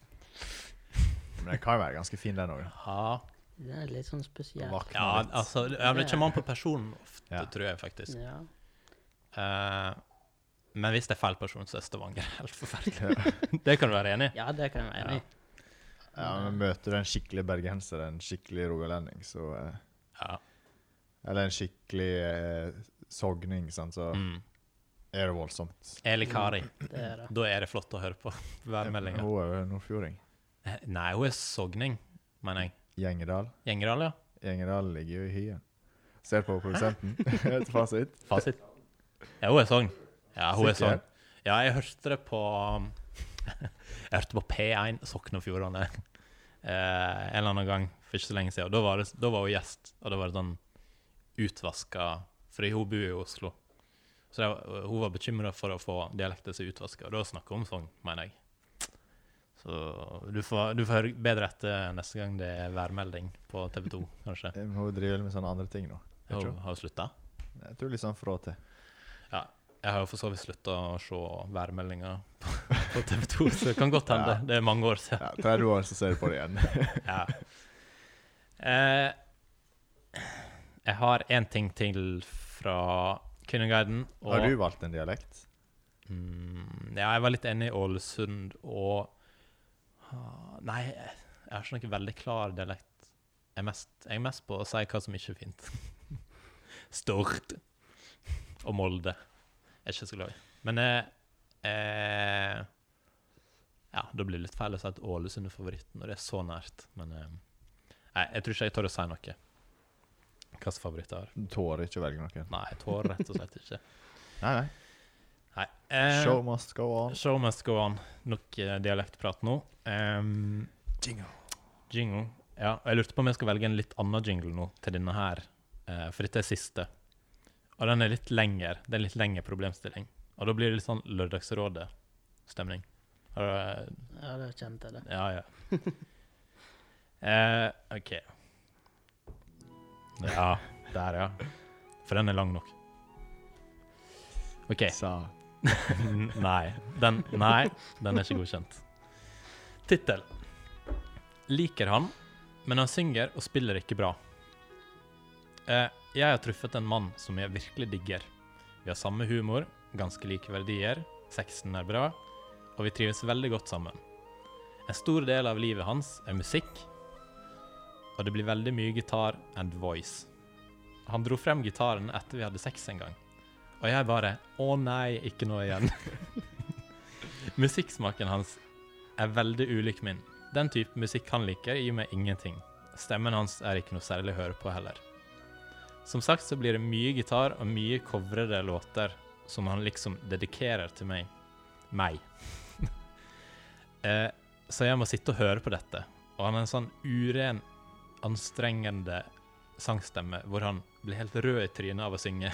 Speaker 2: Men den kan jo være ganske fin, den òg.
Speaker 1: Ja,
Speaker 3: Det er litt sånn
Speaker 2: Og
Speaker 3: spesielt.
Speaker 2: vakne
Speaker 1: Ja,
Speaker 2: litt.
Speaker 1: altså, ja, men det kommer an på personen ofte,
Speaker 2: Ja.
Speaker 1: tror jeg faktisk.
Speaker 3: Ja.
Speaker 1: Eh, men hvis det er feil person, så er Stavanger helt forferdelig. det kan du være enig i.
Speaker 3: ja, det kan jeg være enig i.
Speaker 2: Ja, men Møter du en skikkelig bergenser, en skikkelig rogalending, så eh,
Speaker 1: Ja.
Speaker 2: Eller en skikkelig eh, sogning, sant, så
Speaker 1: Mm.
Speaker 2: er det voldsomt.
Speaker 1: Eli Kari.
Speaker 3: Det er det.
Speaker 1: Da er det flott å høre på
Speaker 2: Hun
Speaker 1: værmeldinga.
Speaker 2: er jo nordfjording.
Speaker 1: Nei, hun er sogning, mener jeg.
Speaker 2: Gjengedal.
Speaker 1: Gjengedal, ja.
Speaker 2: Gjengedal ligger jo i hyen. Ser på produsenten. Et fasit.
Speaker 1: Fasit. Ja, hun er sogn. Ja, hun er
Speaker 2: Sikker?
Speaker 1: sogn. Ja, jeg hørte det på um, Jeg hørte på P1 Sogn og Fjordane eh, en eller annen gang for ikke så lenge siden. Og Da var, det, da var hun gjest, og det var sånn utvaska Fordi hun bor jo i Oslo. Så det, var- hun var bekymra for å få dialekten sin utvaska, og da snakka hun om sogn, mener jeg. Så du får, du får høre bedre etter neste gang det er værmelding på TV 2, kanskje.
Speaker 2: Eh, men Hun driver vel med sånne andre ting nå. Jeg
Speaker 1: Hun
Speaker 2: tror,
Speaker 1: har slutta.
Speaker 2: jeg tror litt sånn fra og til.
Speaker 1: Ja, jeg har jo for så vidt slutta å se værmeldinga på på TV 2, så det kan godt hende. Det er mange år siden.
Speaker 2: Ja, 30 år, så ser du på det igjen.
Speaker 1: Ja. Eh, jeg har én ting til fra Kvinneguiden. og-
Speaker 2: Har du valgt en dialekt?
Speaker 1: Mm, ja, jeg var litt enig i Ålesund og ah, Nei, jeg jeg har ikke noen veldig klar dialekt. Jeg er mest, jeg er mest på å si hva som ikke er fint. Stord og Molde. Jeg er ikke så glad i. Men eh, eh, Ja, da blir det litt feil å si at Ålesund er favoritten når det er så nært. Men eh, nei, jeg tror ikke jeg tør å si noe. Hva slags favoritt jeg har.
Speaker 2: Du tåler ikke å velge noen.
Speaker 1: Nei, jeg tør rett og slett ikke.
Speaker 2: Nei, nei.
Speaker 1: Nei. eh,
Speaker 2: Show must go on.
Speaker 1: Show must go on. Nok eh, dialektprat nå. Ehm,
Speaker 2: Jingle.
Speaker 1: jingle. Ja, og jeg lurte på om jeg skal velge en litt annen jingle nå til denne her, eh, for dette er siste. Og den er litt lengre. Det er en litt lengre problemstilling. Og da blir det litt sånn Lørdagsrådet-stemning. Har du,
Speaker 3: Ja, det kjente jeg det.
Speaker 1: eh, Ja, ja. Eh, OK. Ja. Der, ja. For den er lang nok. OK.
Speaker 2: Sa.
Speaker 1: N- Nei. Den, nei, den er ikke godkjent. Tittel. Liker han, men han synger og spiller ikke bra. Eh, jeg har truffet en mann som jeg virkelig digger. Vi har samme humor, ganske like verdier, sexen er bra, og vi trives veldig godt sammen. En stor del av livet hans er musikk, og det blir veldig mye gitar and voice. Han dro frem gitaren etter vi hadde sex en gang. Og jeg bare Å nei, ikke nå igjen. Musikksmaken hans er veldig ulik min. Den type musikk han liker, gir meg ingenting. Stemmen hans er ikke noe særlig å høre på heller. Som sagt så blir det mye gitar og mye covrede låter som han liksom dedikerer til meg. Meg. eh, så jeg må sitte og høre på dette. Og han har en sånn uren, anstrengende sangstemme hvor han blir helt rød i trynet av å synge.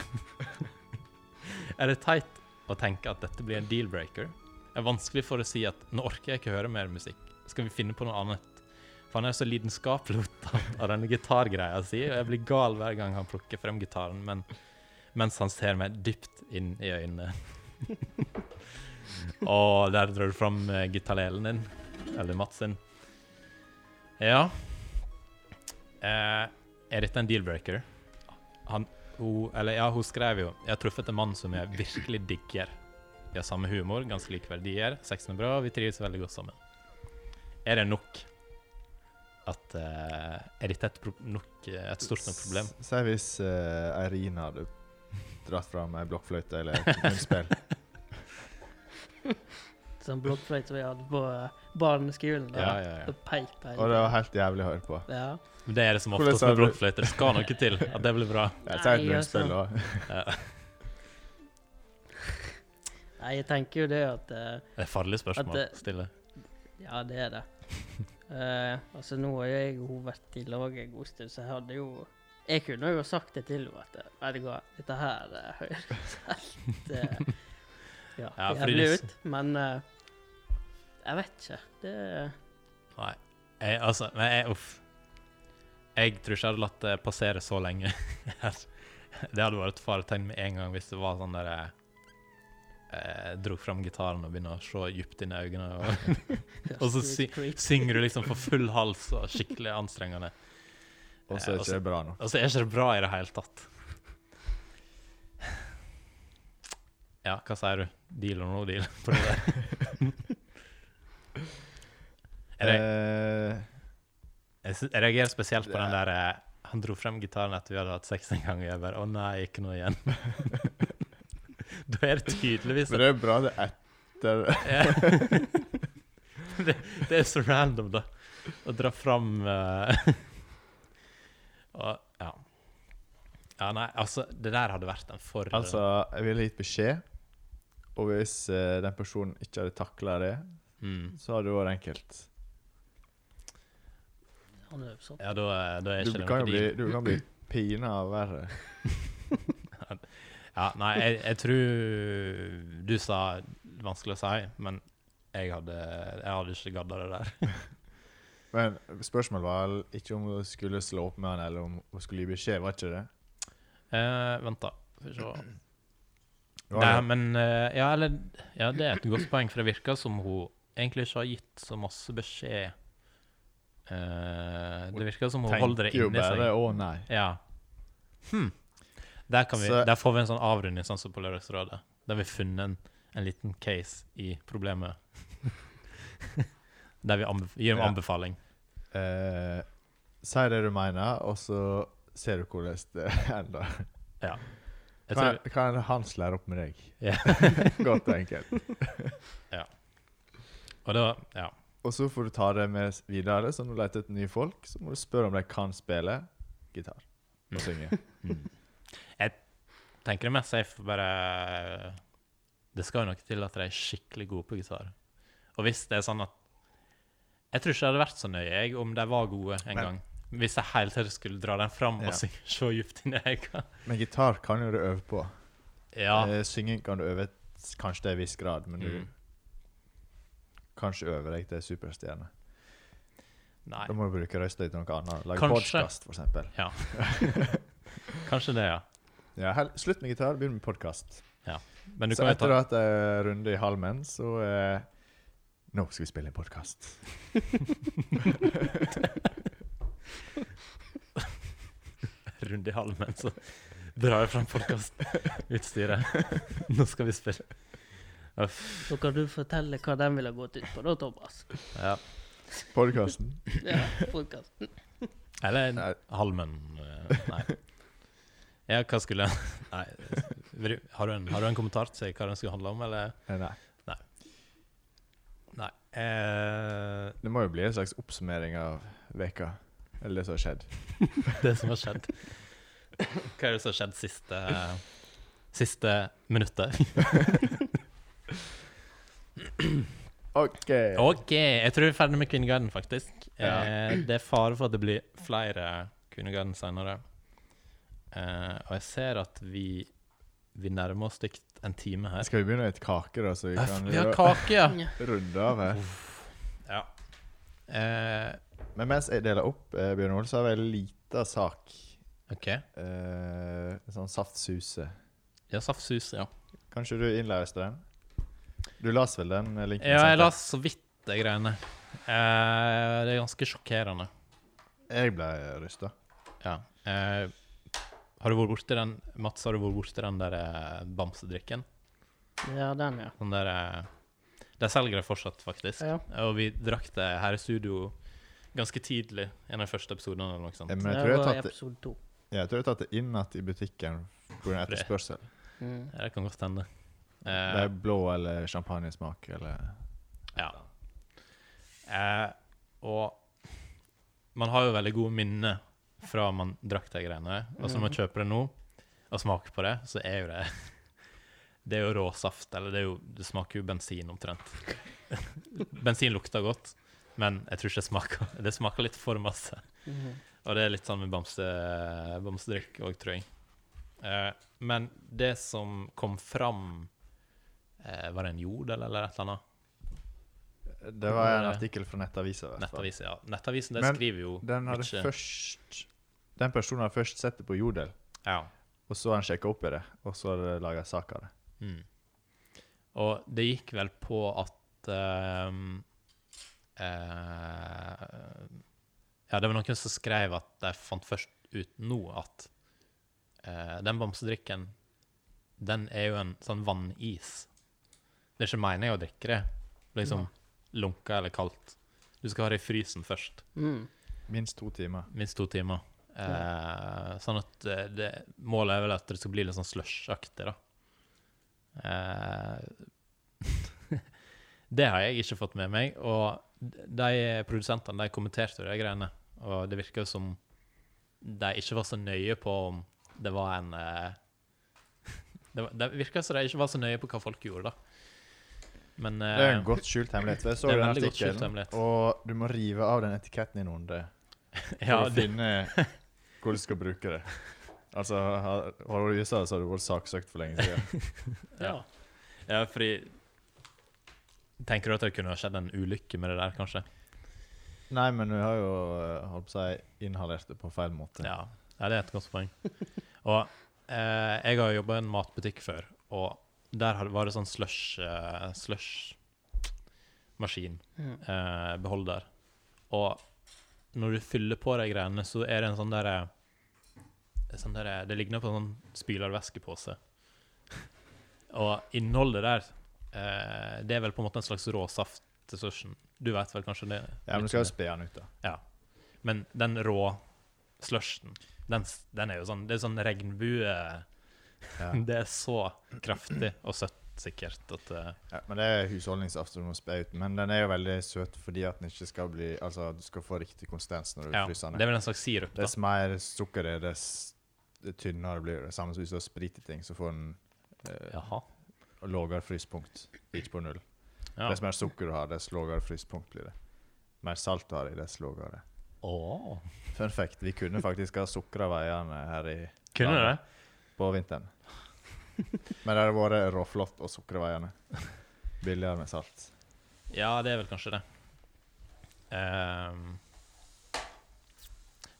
Speaker 1: Er det teit å tenke at dette blir en deal-breaker? Det er vanskelig for å si at nå orker jeg ikke høre mer musikk. Skal vi finne på noe annet? For han er så lidenskapelig opptatt av denne gitargreia si, og jeg blir gal hver gang han plukker frem gitaren men, mens han ser meg dypt inn i øynene. og der drar du fram eh, gitarlelen din. Eller Mats sin. Ja eh, Er dette en deal-breaker? Han hun, eller ja, hun skrev jo Jeg har truffet en mann som jeg virkelig digger. Vi har samme humor, ganske like verdier, sexen er bra, og vi trives veldig godt sammen. Er det nok at eh, Er dette et, pro nok, eh, et stort nok problem?
Speaker 2: S- Si hvis eh, Eirina hadde dratt fram ei blokkfløyte eller et munnspill.
Speaker 3: Sånn blokkfløyte vi hadde på eh, barneskolen. Da,
Speaker 1: Ja, ja, ja.
Speaker 3: da peip jeg.
Speaker 2: Og det var helt jævlig å høre på.
Speaker 3: Ja.
Speaker 1: Men Det er det som
Speaker 2: Hvordan
Speaker 1: oftest med
Speaker 2: sa du?
Speaker 1: blokkfløyter. Det skal noe til at det blir bra.
Speaker 2: Jeg sier et
Speaker 3: Nei,
Speaker 2: munnspill
Speaker 3: altså.
Speaker 2: òg.
Speaker 1: Ja.
Speaker 3: Nei, jeg tenker jo det at eh,
Speaker 1: Det er et farlig spørsmål å
Speaker 3: At det-
Speaker 1: stille.
Speaker 3: Ja, det er det. Eh, altså, nå har jo jeg og hun vært i lag en god stund, så jeg hadde jo Jeg kunne jo sagt det til henne at eh, Vet du hva, dette her eh, høres helt eh, Ja,
Speaker 1: Ja, fordi
Speaker 3: jævlig
Speaker 1: det-
Speaker 3: ut, men eh, Jeg vet ikke. Det
Speaker 1: Nei. Jeg, altså, men jeg, uff. Jeg tror ikke jeg hadde latt det passere så lenge. Altså, det hadde vært et faretegn med en gang hvis det var sånn der jeg, jeg dro fram gitaren og begynner å se dypt inn i øynene. Og
Speaker 3: høres
Speaker 1: Og så
Speaker 3: litt
Speaker 1: sy-
Speaker 3: creepy.
Speaker 1: synger du liksom for full hals og skikkelig anstrengende.
Speaker 2: Og så er
Speaker 1: Eh,
Speaker 2: ikke det bra nok.
Speaker 1: Altså, er ikke det bra i det hele tatt? Ja, hva sier du? Deal or no deal på det der? Jeg re-
Speaker 2: Eh,
Speaker 1: jeg sy- jeg reagerer spesielt på den der eh, Han dro frem gitaren etter vi hadde hatt sex en gang, og jeg bare Å nei, ikke nå igjen. da er det tydeligvis
Speaker 2: men det er bra det er etter
Speaker 1: Ja. Eh, det, det er så random, da. Å dra fram eh, og, ja. ja. Nei, altså, det der hadde vært en for eh,
Speaker 2: Altså, jeg ville gitt beskjed, og hvis eh, den personen ikke hadde takla det,
Speaker 1: mm.
Speaker 2: så hadde det vært enkelt.
Speaker 3: Han er jo sånn.
Speaker 1: Ja, da, eh, da er
Speaker 2: Du
Speaker 1: ikke det
Speaker 2: kan
Speaker 1: noe
Speaker 2: jo bli,
Speaker 1: deal.
Speaker 2: du kan bli pina av verre.
Speaker 1: Ja, nei, jeg, jeg tror Du sa vanskelig å si, men jeg hadde, jeg hadde ikke gadda det der.
Speaker 2: Men spørsmålet var vel ikke om hun skulle slå opp med han, eller om hun skulle gi beskjed, var ikke det?
Speaker 1: Eh, vent, da. Skal vi se.
Speaker 2: Var
Speaker 1: Nei,
Speaker 2: det?
Speaker 1: men eh, ja, eller, ja, det er et godt poeng, for det virker som hun egentlig ikke har gitt så masse beskjed. Eh, det virker som hun holder det
Speaker 2: jo
Speaker 1: inni
Speaker 2: bare
Speaker 1: seg.
Speaker 2: 'å nei'.
Speaker 1: Ja. Hm. Der, kan vi,
Speaker 2: Så-
Speaker 1: der får vi en sånn avrunding, sånn som på Lørdagsrådet, der vi har funnet en, en liten case i problemet. der vi anbef gir en
Speaker 2: Ja.
Speaker 1: anbefaling.
Speaker 2: Eh, si det du mener, og så ser du hvordan det ender.
Speaker 1: Jeg
Speaker 2: Kan,
Speaker 1: tror,
Speaker 2: kan han lære opp med deg?
Speaker 1: Ja.
Speaker 2: Godt og enkelt.
Speaker 1: og da, ja.
Speaker 2: Og så får du ta det med s- videre, så når du leter etter nye folk, så må du spørre om de kan spille gitar og synge.
Speaker 1: Mm. tenker det mest safe bare eh, Det skal jo noe til at de er skikkelig gode på gitar. Og hvis det er sånn at Jeg tror ikke det hadde vært så nøye jeg, om de var gode en
Speaker 2: Men-
Speaker 1: gang. Hvis jeg hele tiden skulle dra den fram
Speaker 2: Ja.
Speaker 1: og synge, se dypt inn i øynene.
Speaker 2: Men gitar kan jo du øve på.
Speaker 1: Ja.
Speaker 2: Eh, synging kan du øve s- kanskje til en viss grad, men du
Speaker 1: Mm.
Speaker 2: kan ikke øve deg til superstjerne.
Speaker 1: Nei.
Speaker 2: Da må du bruke røsta til noe annet. Lage
Speaker 1: Kanskje.
Speaker 2: podkast, for eksempel.
Speaker 1: Ja. Kanskje det, ja.
Speaker 2: Ja, hel, slutt med gitar, begynn med podkast.
Speaker 1: Men du
Speaker 2: Så
Speaker 1: kan jo
Speaker 2: etter du
Speaker 1: ta
Speaker 2: har hatt en runde i Halmen, så eh, Nå skal vi spille en podkast.
Speaker 1: en runde i halmen, så drar jeg fram podkastutstyret. Nå skal vi spille. Uff.
Speaker 3: Så kan du fortelle hva den ville gått ut på da, Thomas.
Speaker 1: Ja.
Speaker 2: Podkasten.
Speaker 3: Ja, podcast.
Speaker 1: Eller
Speaker 2: Nei.
Speaker 1: halmen eh, Nei. Ja, hva skulle Nei. vil du- Har du en, har du en kommentar til hva den skulle handle om, eller?
Speaker 2: Eh, Nei.
Speaker 1: Nei. Eh,
Speaker 2: Det må jo bli en slags oppsummering av veka, eller det som har skjedd.
Speaker 1: det som har skjedd Hva er det som har skjedd siste Siste minuttet?
Speaker 2: OK.
Speaker 1: OK, jeg tror vi er ferdig med Kvinneguiden, faktisk.
Speaker 2: Ja.
Speaker 1: Eh, det er fare for at det blir flere Kvinneguiden senere. Eh, og jeg ser at vi Vi nærmer oss stygt en time her.
Speaker 2: Skal vi begynne å spise kake, da, så vi
Speaker 1: Uff,
Speaker 2: kan
Speaker 1: Vi har
Speaker 2: ru-
Speaker 1: kake, ja!
Speaker 3: Ja.
Speaker 2: runde av her?
Speaker 1: Ja. Eh,
Speaker 2: Men mens jeg deler opp, eh, Bjørn Ole, så har vi en liten sak.
Speaker 1: OK.
Speaker 2: Eh, en sånn saftsuse.
Speaker 1: Ja, saftsus, ja.
Speaker 2: Kanskje du innleste den? Du las vel den eh, linken?
Speaker 1: Ja, jeg
Speaker 2: sendte?
Speaker 1: la så vidt de greiene. Eh, det er ganske sjokkerende.
Speaker 2: Jeg ble rysta.
Speaker 1: Ja. Eh, har du vært borti den, Mats, har du vært borti den der eh, bamsedrikken?
Speaker 3: ja, den, ja.
Speaker 1: Den der eh, De selger det fortsatt, faktisk.
Speaker 3: Ja.
Speaker 1: Og vi drakk det her i studio ganske tidlig, en av de første episodene eller noe sånt.
Speaker 2: Men
Speaker 3: Det
Speaker 2: jeg tror jeg
Speaker 3: var
Speaker 2: har tatt det-
Speaker 3: episode to.
Speaker 2: ja, jeg tror jeg har tatt det inn igjen i butikken pga. etterspørsel.
Speaker 3: Mm.
Speaker 1: Ja, det kan godt hende.
Speaker 2: Det
Speaker 1: Eh,
Speaker 2: er blå eller champagnesmak eller
Speaker 1: Ja. Eh, og man har jo veldig gode minner fra man drakk de greiene. Og så når man kjøper det nå, og smaker på det, så er jo det Det er jo råsaft. Eller det, er jo, det smaker jo bensin omtrent. bensin lukter godt, men jeg tror ikke det smaker Det smaker litt for masse.
Speaker 3: Mhm.
Speaker 1: Og det er litt sånn med bamse, bamsedrikk òg, tror jeg. Eh, men det som kom fram eh, Var det en jodel eller et eller annet?
Speaker 2: Det var en artikkel fra Nettavisa. i hvert fall.
Speaker 1: Nettavisen, ja. Nettavisen, det
Speaker 2: Men
Speaker 1: skriver jo
Speaker 2: Den hadde
Speaker 1: ikke-
Speaker 2: først Den personen hadde først sett det på Jodel,
Speaker 1: Ja.
Speaker 2: og så har han sjekka opp i det, og så har de laga sak av det.
Speaker 1: Mm. Og det gikk vel på at ehm, eh, Ja, det var noen som skrev at de fant først ut nå at eh, den bamsedrikken, den er jo en sånn vannis. Det er ikke meningen å drikke det. Liksom lunka eller kaldt. Du skal ha det i frysen først.
Speaker 3: Mm.
Speaker 2: Minst to timer.
Speaker 1: Minst to timer. Eh, sånn at eh, det, målet er vel at det skal bli litt sånn slush-aktig, da. Eh, det har jeg ikke fått med meg. Og de produsentene de kommenterte de greiene, og det virker jo som de ikke var så nøye på om det var en eh, Det, var- det virker som de ikke var så nøye på hva folk gjorde, da. Men
Speaker 2: Det er en
Speaker 1: eh,
Speaker 2: godt skjult hemmelighet. for Jeg så
Speaker 1: Det er en
Speaker 2: den
Speaker 1: veldig godt skjult
Speaker 2: artikkelen,
Speaker 1: hemmelighet.
Speaker 2: og du må rive av den etiketten din under for
Speaker 1: ja,
Speaker 2: å
Speaker 1: det,
Speaker 2: finne hvor du skal bruke det. Altså, har har du vært i USA, så har du vært saksøkt for lenge siden.
Speaker 3: Ja.
Speaker 1: ja, fordi Tenker du at det kunne ha skjedd en ulykke med det der, kanskje?
Speaker 2: Nei, men vi har jo eh, holdt på å si inhalert det på feil måte.
Speaker 1: Ja, ja det er et godt poeng. Og eh, jeg har jobba i en matbutikk før, og der har- var det sånn slush, eh, slush-maskin,
Speaker 3: Mm.
Speaker 1: eh, beholder. Og når du fyller på de greiene, så er det en sånn derre sånn der, Det ligner på en sånn spylervæskepose. Og innholdet der, eh, det er vel på en måte en slags råsaft til slushen. Du vet vel kanskje det?
Speaker 2: Ja, men du skal jo spe den ut, da.
Speaker 1: Ja. Men den rå slushen, den, den er jo sånn Det er sånn regnbue
Speaker 2: Ja.
Speaker 1: Det er så kraftig og søtt, sikkert, at eh,
Speaker 2: Ja, men Det er husholdningssaft du må spe ut. Men den er jo veldig søt fordi at den ikke skal bli Altså, du skal få riktig konsistens når du
Speaker 1: Ja,
Speaker 2: fryser
Speaker 1: det
Speaker 2: den.
Speaker 1: er vel en slags sirup, da.
Speaker 2: Dess mer sukker det er, dess tynnere blir det. Samme som hvis du har sprit i ting, så får den eh,
Speaker 1: Jaha.
Speaker 2: lavere frysepunkt. Ikke på null.
Speaker 1: Ja.
Speaker 2: Dess mer sukker du har, dess lavere frysepunkt blir det. Mer salt du har i, dess lavere.
Speaker 1: Åh.
Speaker 2: Fun fact, vi kunne faktisk ha sukra veiene her i,
Speaker 1: Kunne
Speaker 2: Ja.
Speaker 1: det?
Speaker 2: på vinteren. Men det hadde vært råflott å sukre veiene. Billigere med salt.
Speaker 1: Ja, det er vel kanskje det. Ehm,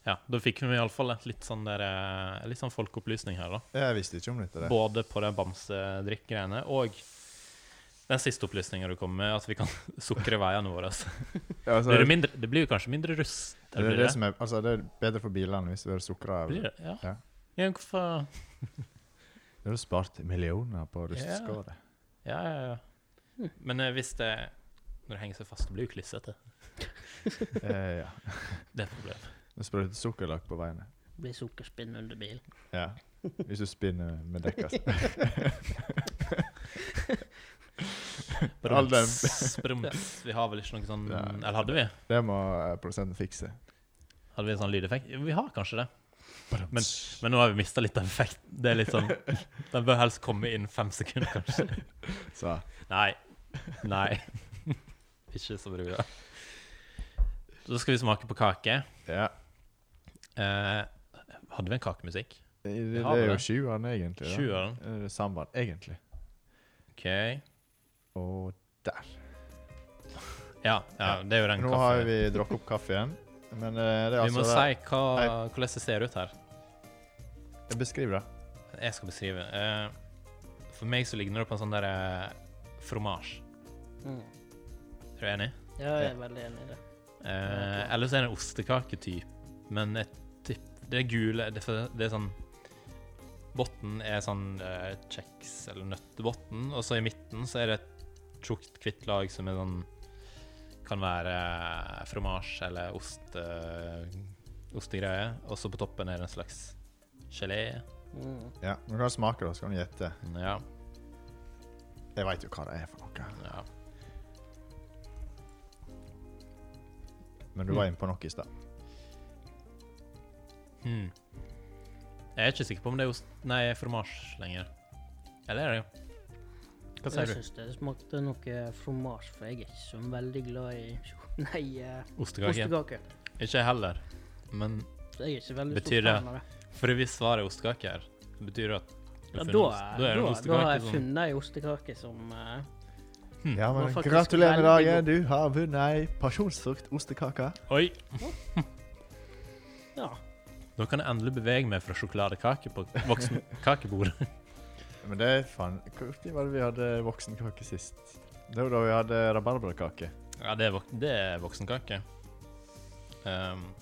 Speaker 1: ja, da fikk vi iallfall litt sånn der eh, Litt sånn folkeopplysning her, da.
Speaker 2: Jeg visste ikke om dette. det.
Speaker 1: Både på de bamsedrikk-greiene og den siste opplysninga du kom med, at vi kan sukre veiene våre. altså.
Speaker 2: Ja, altså,
Speaker 1: Blir det, mindre, det blir jo kanskje mindre russ.
Speaker 2: Det er, det som er, altså, det er bedre for bilene hvis det er sukra.
Speaker 1: Blir det? Ja.
Speaker 2: Ja.
Speaker 1: Ja, hvorfor
Speaker 2: Da har du spart millioner på rusteskåret.
Speaker 1: Ja, ja, ja. Men eh, hvis det Når det henger seg fast, det blir jo klissete.
Speaker 2: Eh, ja.
Speaker 1: Det er problemet.
Speaker 2: Du sprøyter sukkerlakk på veiene.
Speaker 3: Blir sukkerspinn under bilen.
Speaker 2: Ja. Hvis du spinner med altså. dekka. All den-
Speaker 1: Brums, brums. Vi har vel ikke noe sånn
Speaker 2: Ja.
Speaker 1: Eller hadde vi?
Speaker 2: Det må eh, produsenten fikse.
Speaker 1: Hadde vi en sånn lydeffekt? Vi har kanskje det. Men nå har vi mista litt av effekt. Det er litt sånn Den bør helst komme inn fem sekunder, kanskje.
Speaker 2: Så,
Speaker 1: Nei. Nei. Ikke så bra. Så skal vi smake på kake.
Speaker 2: ja.
Speaker 1: Eh, hadde vi en kakemusikk?
Speaker 2: Det,
Speaker 1: Vi
Speaker 2: det
Speaker 1: har
Speaker 2: er
Speaker 1: vel
Speaker 2: jo
Speaker 1: det.
Speaker 2: sjueren, egentlig. da.
Speaker 1: Sjueren.
Speaker 2: Eh, Sambar, egentlig.
Speaker 1: OK.
Speaker 2: Og der.
Speaker 1: Ja, ja,
Speaker 2: Ja.
Speaker 1: det er jo den
Speaker 2: Nå har vi drukket opp kaffen. Men eh, det er
Speaker 1: Vi må
Speaker 2: altså
Speaker 1: si hva,
Speaker 2: Nei.
Speaker 1: hvordan det ser ut her.
Speaker 2: det. Beskriv det.
Speaker 1: Jeg skal beskrive. Eh, for meg så ligner det på en sånn der uh, fromage.
Speaker 3: Mm.
Speaker 1: Er du enig?
Speaker 3: Ja, jeg er veldig enig i det.
Speaker 1: Uh, Eller så er det en ostekaketyp, men jeg tipp- det er gule det, er- det er sånn Bunnen er sånn eh, kjeks- eller nøttebunn, og så i midten så er det et tjukt, hvitt lag som er sånn Kan være eh, fromasj eller ost, eh, ostegreie, og så på toppen er det en slags gelé.
Speaker 3: Mm.
Speaker 2: Ja. Men hva smaker det? Skal du gjette?
Speaker 1: Ja.
Speaker 2: Jeg veit jo hva det er for noe.
Speaker 1: ja. Mm.
Speaker 2: Men du var inne på noe i stad.
Speaker 1: Hmm. Jeg er ikke sikker på om det er ost Nei, fromasj lenger. Eller er det jo? Hva
Speaker 3: Jeg
Speaker 1: sier du?
Speaker 3: syns det smakte noe fromasj, for jeg er ikke så veldig glad i sjo- Nei, eh,
Speaker 1: Ostekake?
Speaker 3: ostekake.
Speaker 1: Ikke jeg heller. Men
Speaker 3: Så jeg er ikke veldig
Speaker 1: Betyr
Speaker 3: stor
Speaker 1: det-
Speaker 3: fan av det.
Speaker 1: for hvis svaret er ostekake her, det betyr det at du
Speaker 3: Ja,
Speaker 1: funnet
Speaker 3: da,
Speaker 1: ost.
Speaker 3: da,
Speaker 1: er det en
Speaker 3: da, har jeg
Speaker 1: ostekake som
Speaker 3: funnet ei ostekake som eh,
Speaker 2: Ja,
Speaker 3: var
Speaker 2: men
Speaker 3: faktisk
Speaker 2: gratulerer med dagen.
Speaker 3: veldig
Speaker 2: Du har vunnet ei pasjonsfrukt ostekake.
Speaker 1: Oi!
Speaker 3: Ja.
Speaker 1: Nå kan jeg endelig bevege meg fra sjokoladekake på voksenkakebordet.
Speaker 2: Men det er faen Når var det vi hadde voksenkake sist? Det var da vi hadde rabarbrakake.
Speaker 1: ja, det er, vok det er voksenkake. Ehm,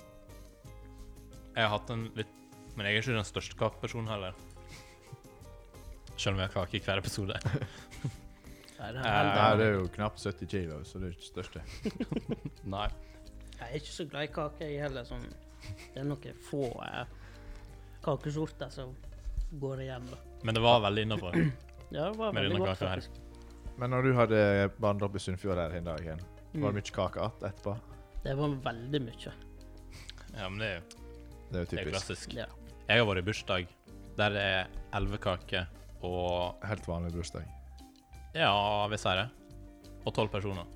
Speaker 1: Jeg har hatt en litt Men jeg er ikke den største kakepersonen heller. Selv om jeg har kake i hver episode.
Speaker 3: Nei, det
Speaker 1: Eh,
Speaker 2: Nei,
Speaker 3: er veldig-
Speaker 2: det er jo knapt 70 kilo, så det er ikke største.
Speaker 1: Nei.
Speaker 3: Jeg er ikke så glad i kake, jeg heller. Sånn. Det er noen få eh, kakesorter som går igjen, da.
Speaker 1: Men det var veldig innafor
Speaker 3: Ja, det var
Speaker 1: med
Speaker 3: veldig
Speaker 1: denne
Speaker 3: godt,
Speaker 1: kaka her.
Speaker 3: faktisk.
Speaker 2: Men når du hadde vandret opp i Sunnfjord her en dag igjen, var
Speaker 3: Mm.
Speaker 2: det mye kake igjen etterpå?
Speaker 3: Det var veldig mye.
Speaker 1: Ja, men det er jo
Speaker 2: Det er jo
Speaker 1: det er
Speaker 2: typisk.
Speaker 1: klassisk.
Speaker 3: Ja.
Speaker 1: Jeg har vært i bursdag der det er elleve kaker og
Speaker 2: Helt vanlig bursdag.
Speaker 1: Ja, hvis jeg er det. Og tolv personer.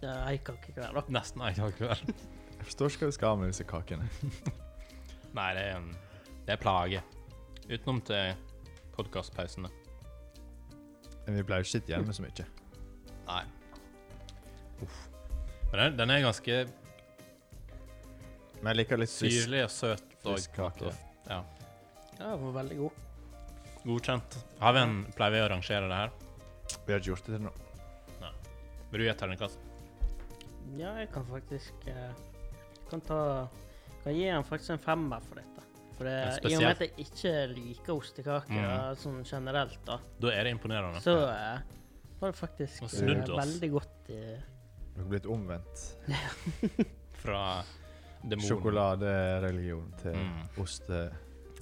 Speaker 3: Det er ei kake hver, da.
Speaker 1: Nesten ei kake hver.
Speaker 2: Jeg forstår ikke hva vi skal med disse kakene.
Speaker 1: Nei, det er, en- det er plage. Utenom til podkastpausene.
Speaker 2: Men vi pleier jo ikke å sitte igjen med så mye.
Speaker 1: Nei. Uff. Men den, den er ganske
Speaker 2: Men jeg liker litt sys.
Speaker 1: syrlig og søt. Og
Speaker 2: Frisk kake.
Speaker 3: Ja, den var veldig god.
Speaker 1: godkjent. Har vi en, pleier vi å rangere det her?
Speaker 2: Vi har ikke gjort det til nå.
Speaker 1: Vil du gi et terningkast?
Speaker 3: Ja, jeg kan faktisk eh, kan ta kan gi den faktisk en femmer for dette. For det,
Speaker 1: En
Speaker 3: I og med at jeg ikke liker ostekaker
Speaker 1: Mm.
Speaker 3: sånn generelt, da,
Speaker 1: Da er det imponerende.
Speaker 3: så eh, var det faktisk
Speaker 1: Og
Speaker 3: eh,
Speaker 1: snudd oss.
Speaker 3: veldig godt eh, i
Speaker 2: Vi har blitt omvendt.
Speaker 1: Fra demonen.
Speaker 2: Sjokoladereligion til
Speaker 1: Mm.
Speaker 2: oste...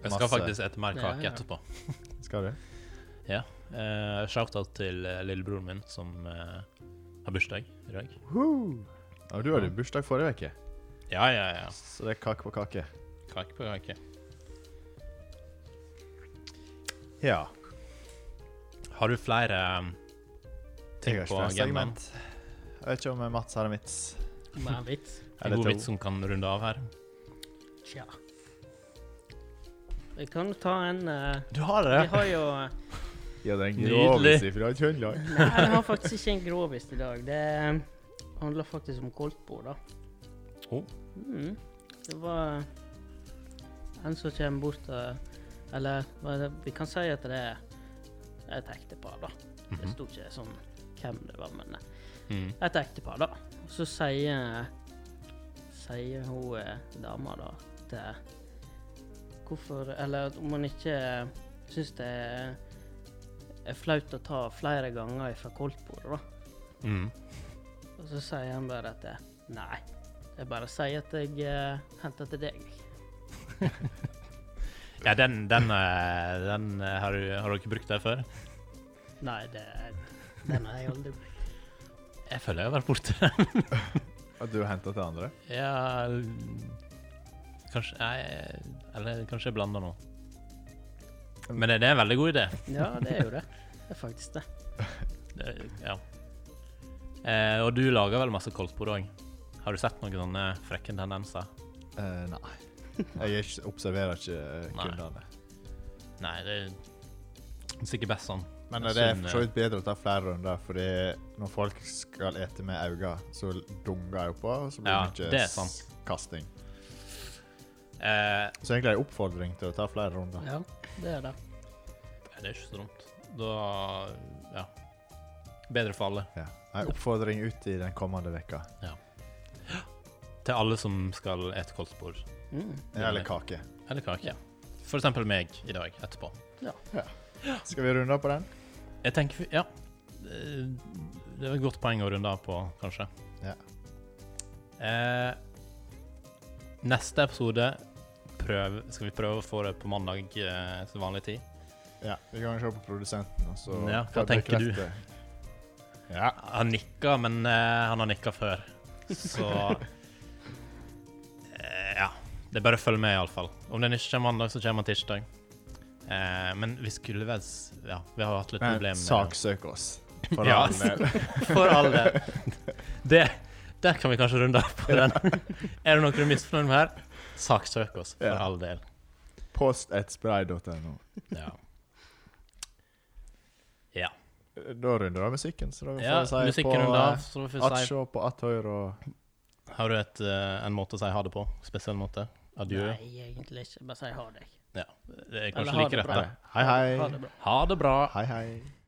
Speaker 1: Jeg skal
Speaker 2: masse.
Speaker 1: faktisk ete mer
Speaker 3: Ja,
Speaker 1: kake
Speaker 3: ja.
Speaker 1: etterpå.
Speaker 2: Skal du?
Speaker 1: Eh, Shout-out til eh, lillebroren min, som eh, har bursdag i dag.
Speaker 2: Ja, du hadde jo bursdag forrige uke,
Speaker 1: Ja, ja, ja.
Speaker 2: så det er kake på kake.
Speaker 1: Kake på kake.
Speaker 2: Ja.
Speaker 1: Har du flere um, ting
Speaker 2: Jeg
Speaker 1: på
Speaker 2: har ikke flere
Speaker 1: agendaen?
Speaker 2: segment. Jeg vet ikke om Mats har en vits.
Speaker 3: med en vits.
Speaker 1: En
Speaker 2: Eller
Speaker 1: god
Speaker 2: to.
Speaker 1: vits som kan runde av her?
Speaker 3: Tja. Vi kan jo ta en eh,
Speaker 1: Du har
Speaker 3: Vi har jo eh,
Speaker 2: Ja, det er en
Speaker 1: Nydelig.
Speaker 2: grovis ifra Trøndelag.
Speaker 3: Nei, jeg har faktisk ikke en grovis i dag. Det eh, handler faktisk om koldtbord, da.
Speaker 1: Oh.
Speaker 3: Mm. Det var en som kommer bort og Eller hva er det? vi kan si at det er et ektepar, da. Det
Speaker 1: Mhm.
Speaker 3: sto ikke sånn hvem det var, men eh,
Speaker 1: Mm.
Speaker 3: et ektepar, da. Og så sier sier hun eh, dama da at eh, hvorfor Eller at om hun ikke eh, syns det er, er flaut å ta flere ganger fra koldtbordet, da.
Speaker 1: Mm.
Speaker 3: Og så sier han bare at eh, nei, jeg bare sier at jeg eh, henter til deg.
Speaker 1: Ja, den, den, eh, den eh, har, du, har dere brukt der før?
Speaker 3: Nei, det, den har jeg aldri brukt.
Speaker 1: Jeg føler jeg har vært borti det.
Speaker 2: At du henta til andre?
Speaker 1: Ja l- Kanskje jeg, Eller kanskje jeg blander nå. Men det, det er en veldig god idé.
Speaker 3: Ja, det er jo det. Det er faktisk det.
Speaker 1: Det, ja. Eh, og du lager vel masse koldtbord òg? Har du sett noen sånne frekke tendenser?
Speaker 2: Eh, nei. Jeg er ikke, observerer ikke eh,
Speaker 1: Nei.
Speaker 2: kundene.
Speaker 1: Nei, det er sikkert best sånn.
Speaker 2: Men
Speaker 1: Jeg
Speaker 2: det er eh.
Speaker 1: synes,
Speaker 2: for så vidt bedre å ta flere runder, fordi når folk skal ete med øynene, så dunger jeg oppå, og så blir
Speaker 1: Ja,
Speaker 2: det
Speaker 1: det
Speaker 2: mye
Speaker 1: er sant.
Speaker 2: s- kasting.
Speaker 1: Eh,
Speaker 2: Så egentlig er det en oppfordring til å ta flere runder.
Speaker 3: Ja, det er det.
Speaker 1: det er ikke så dumt. Da Ja. Bedre for alle.
Speaker 2: Ja. En oppfordring ut i den kommende vekka.
Speaker 1: Til alle som skal ete koldtbord.
Speaker 3: Mm.
Speaker 1: Ja,
Speaker 2: Eller
Speaker 1: men-
Speaker 2: kake.
Speaker 1: Eller kake. For eksempel meg i dag etterpå.
Speaker 2: Skal vi runde av på den?
Speaker 1: Jeg tenker vi- Ja. Eh, Det er et godt poeng å runde av på, kanskje.
Speaker 2: Ja.
Speaker 1: Eh, neste episode prøv, skal vi prøve å få det på mandag eh, til vanlig tid.
Speaker 2: Ja, vi kan se på produsenten, og så
Speaker 1: Ja, hva
Speaker 2: får vi
Speaker 1: tenker du?
Speaker 2: bekrefte. Ja.
Speaker 1: Han nikka, men eh, han har nikka før. Så eh, Ja. Det er bare å følge med, iallfall. Om den ikke kommer mandag, så kommer den tirsdag. Eh, men vi skulle vel s- Ja, vi har hatt litt
Speaker 2: Men
Speaker 1: problemer med
Speaker 2: Saksøk oss. For
Speaker 1: Ja.
Speaker 2: all del.
Speaker 1: For all del. Det, der kan vi kanskje runde av på den. Er det noe du er misfornøyd med her, saksøk oss. For
Speaker 2: Ja.
Speaker 1: all del.
Speaker 2: Post at spray.no.
Speaker 1: Ja. ja.
Speaker 2: Da runder vi av musikken, så da får
Speaker 1: ja
Speaker 2: vi si
Speaker 1: musikken
Speaker 2: på
Speaker 1: runder av.
Speaker 2: eh,
Speaker 1: Så får
Speaker 2: at
Speaker 1: vi si,
Speaker 2: sjå på at høyre og
Speaker 1: har du et, eh, en måte å si ha det på? Spesiell måte? Adjø?
Speaker 3: Nei, egentlig ikke. Bare si ha deg.
Speaker 1: Ja. Det er
Speaker 3: Eller
Speaker 1: kanskje
Speaker 3: ha
Speaker 1: like
Speaker 3: det
Speaker 1: rett,
Speaker 3: bra.
Speaker 1: det.
Speaker 2: Hei,
Speaker 3: Ha
Speaker 2: hei.
Speaker 3: det bra.
Speaker 1: Ha det bra.
Speaker 2: Hei, hei.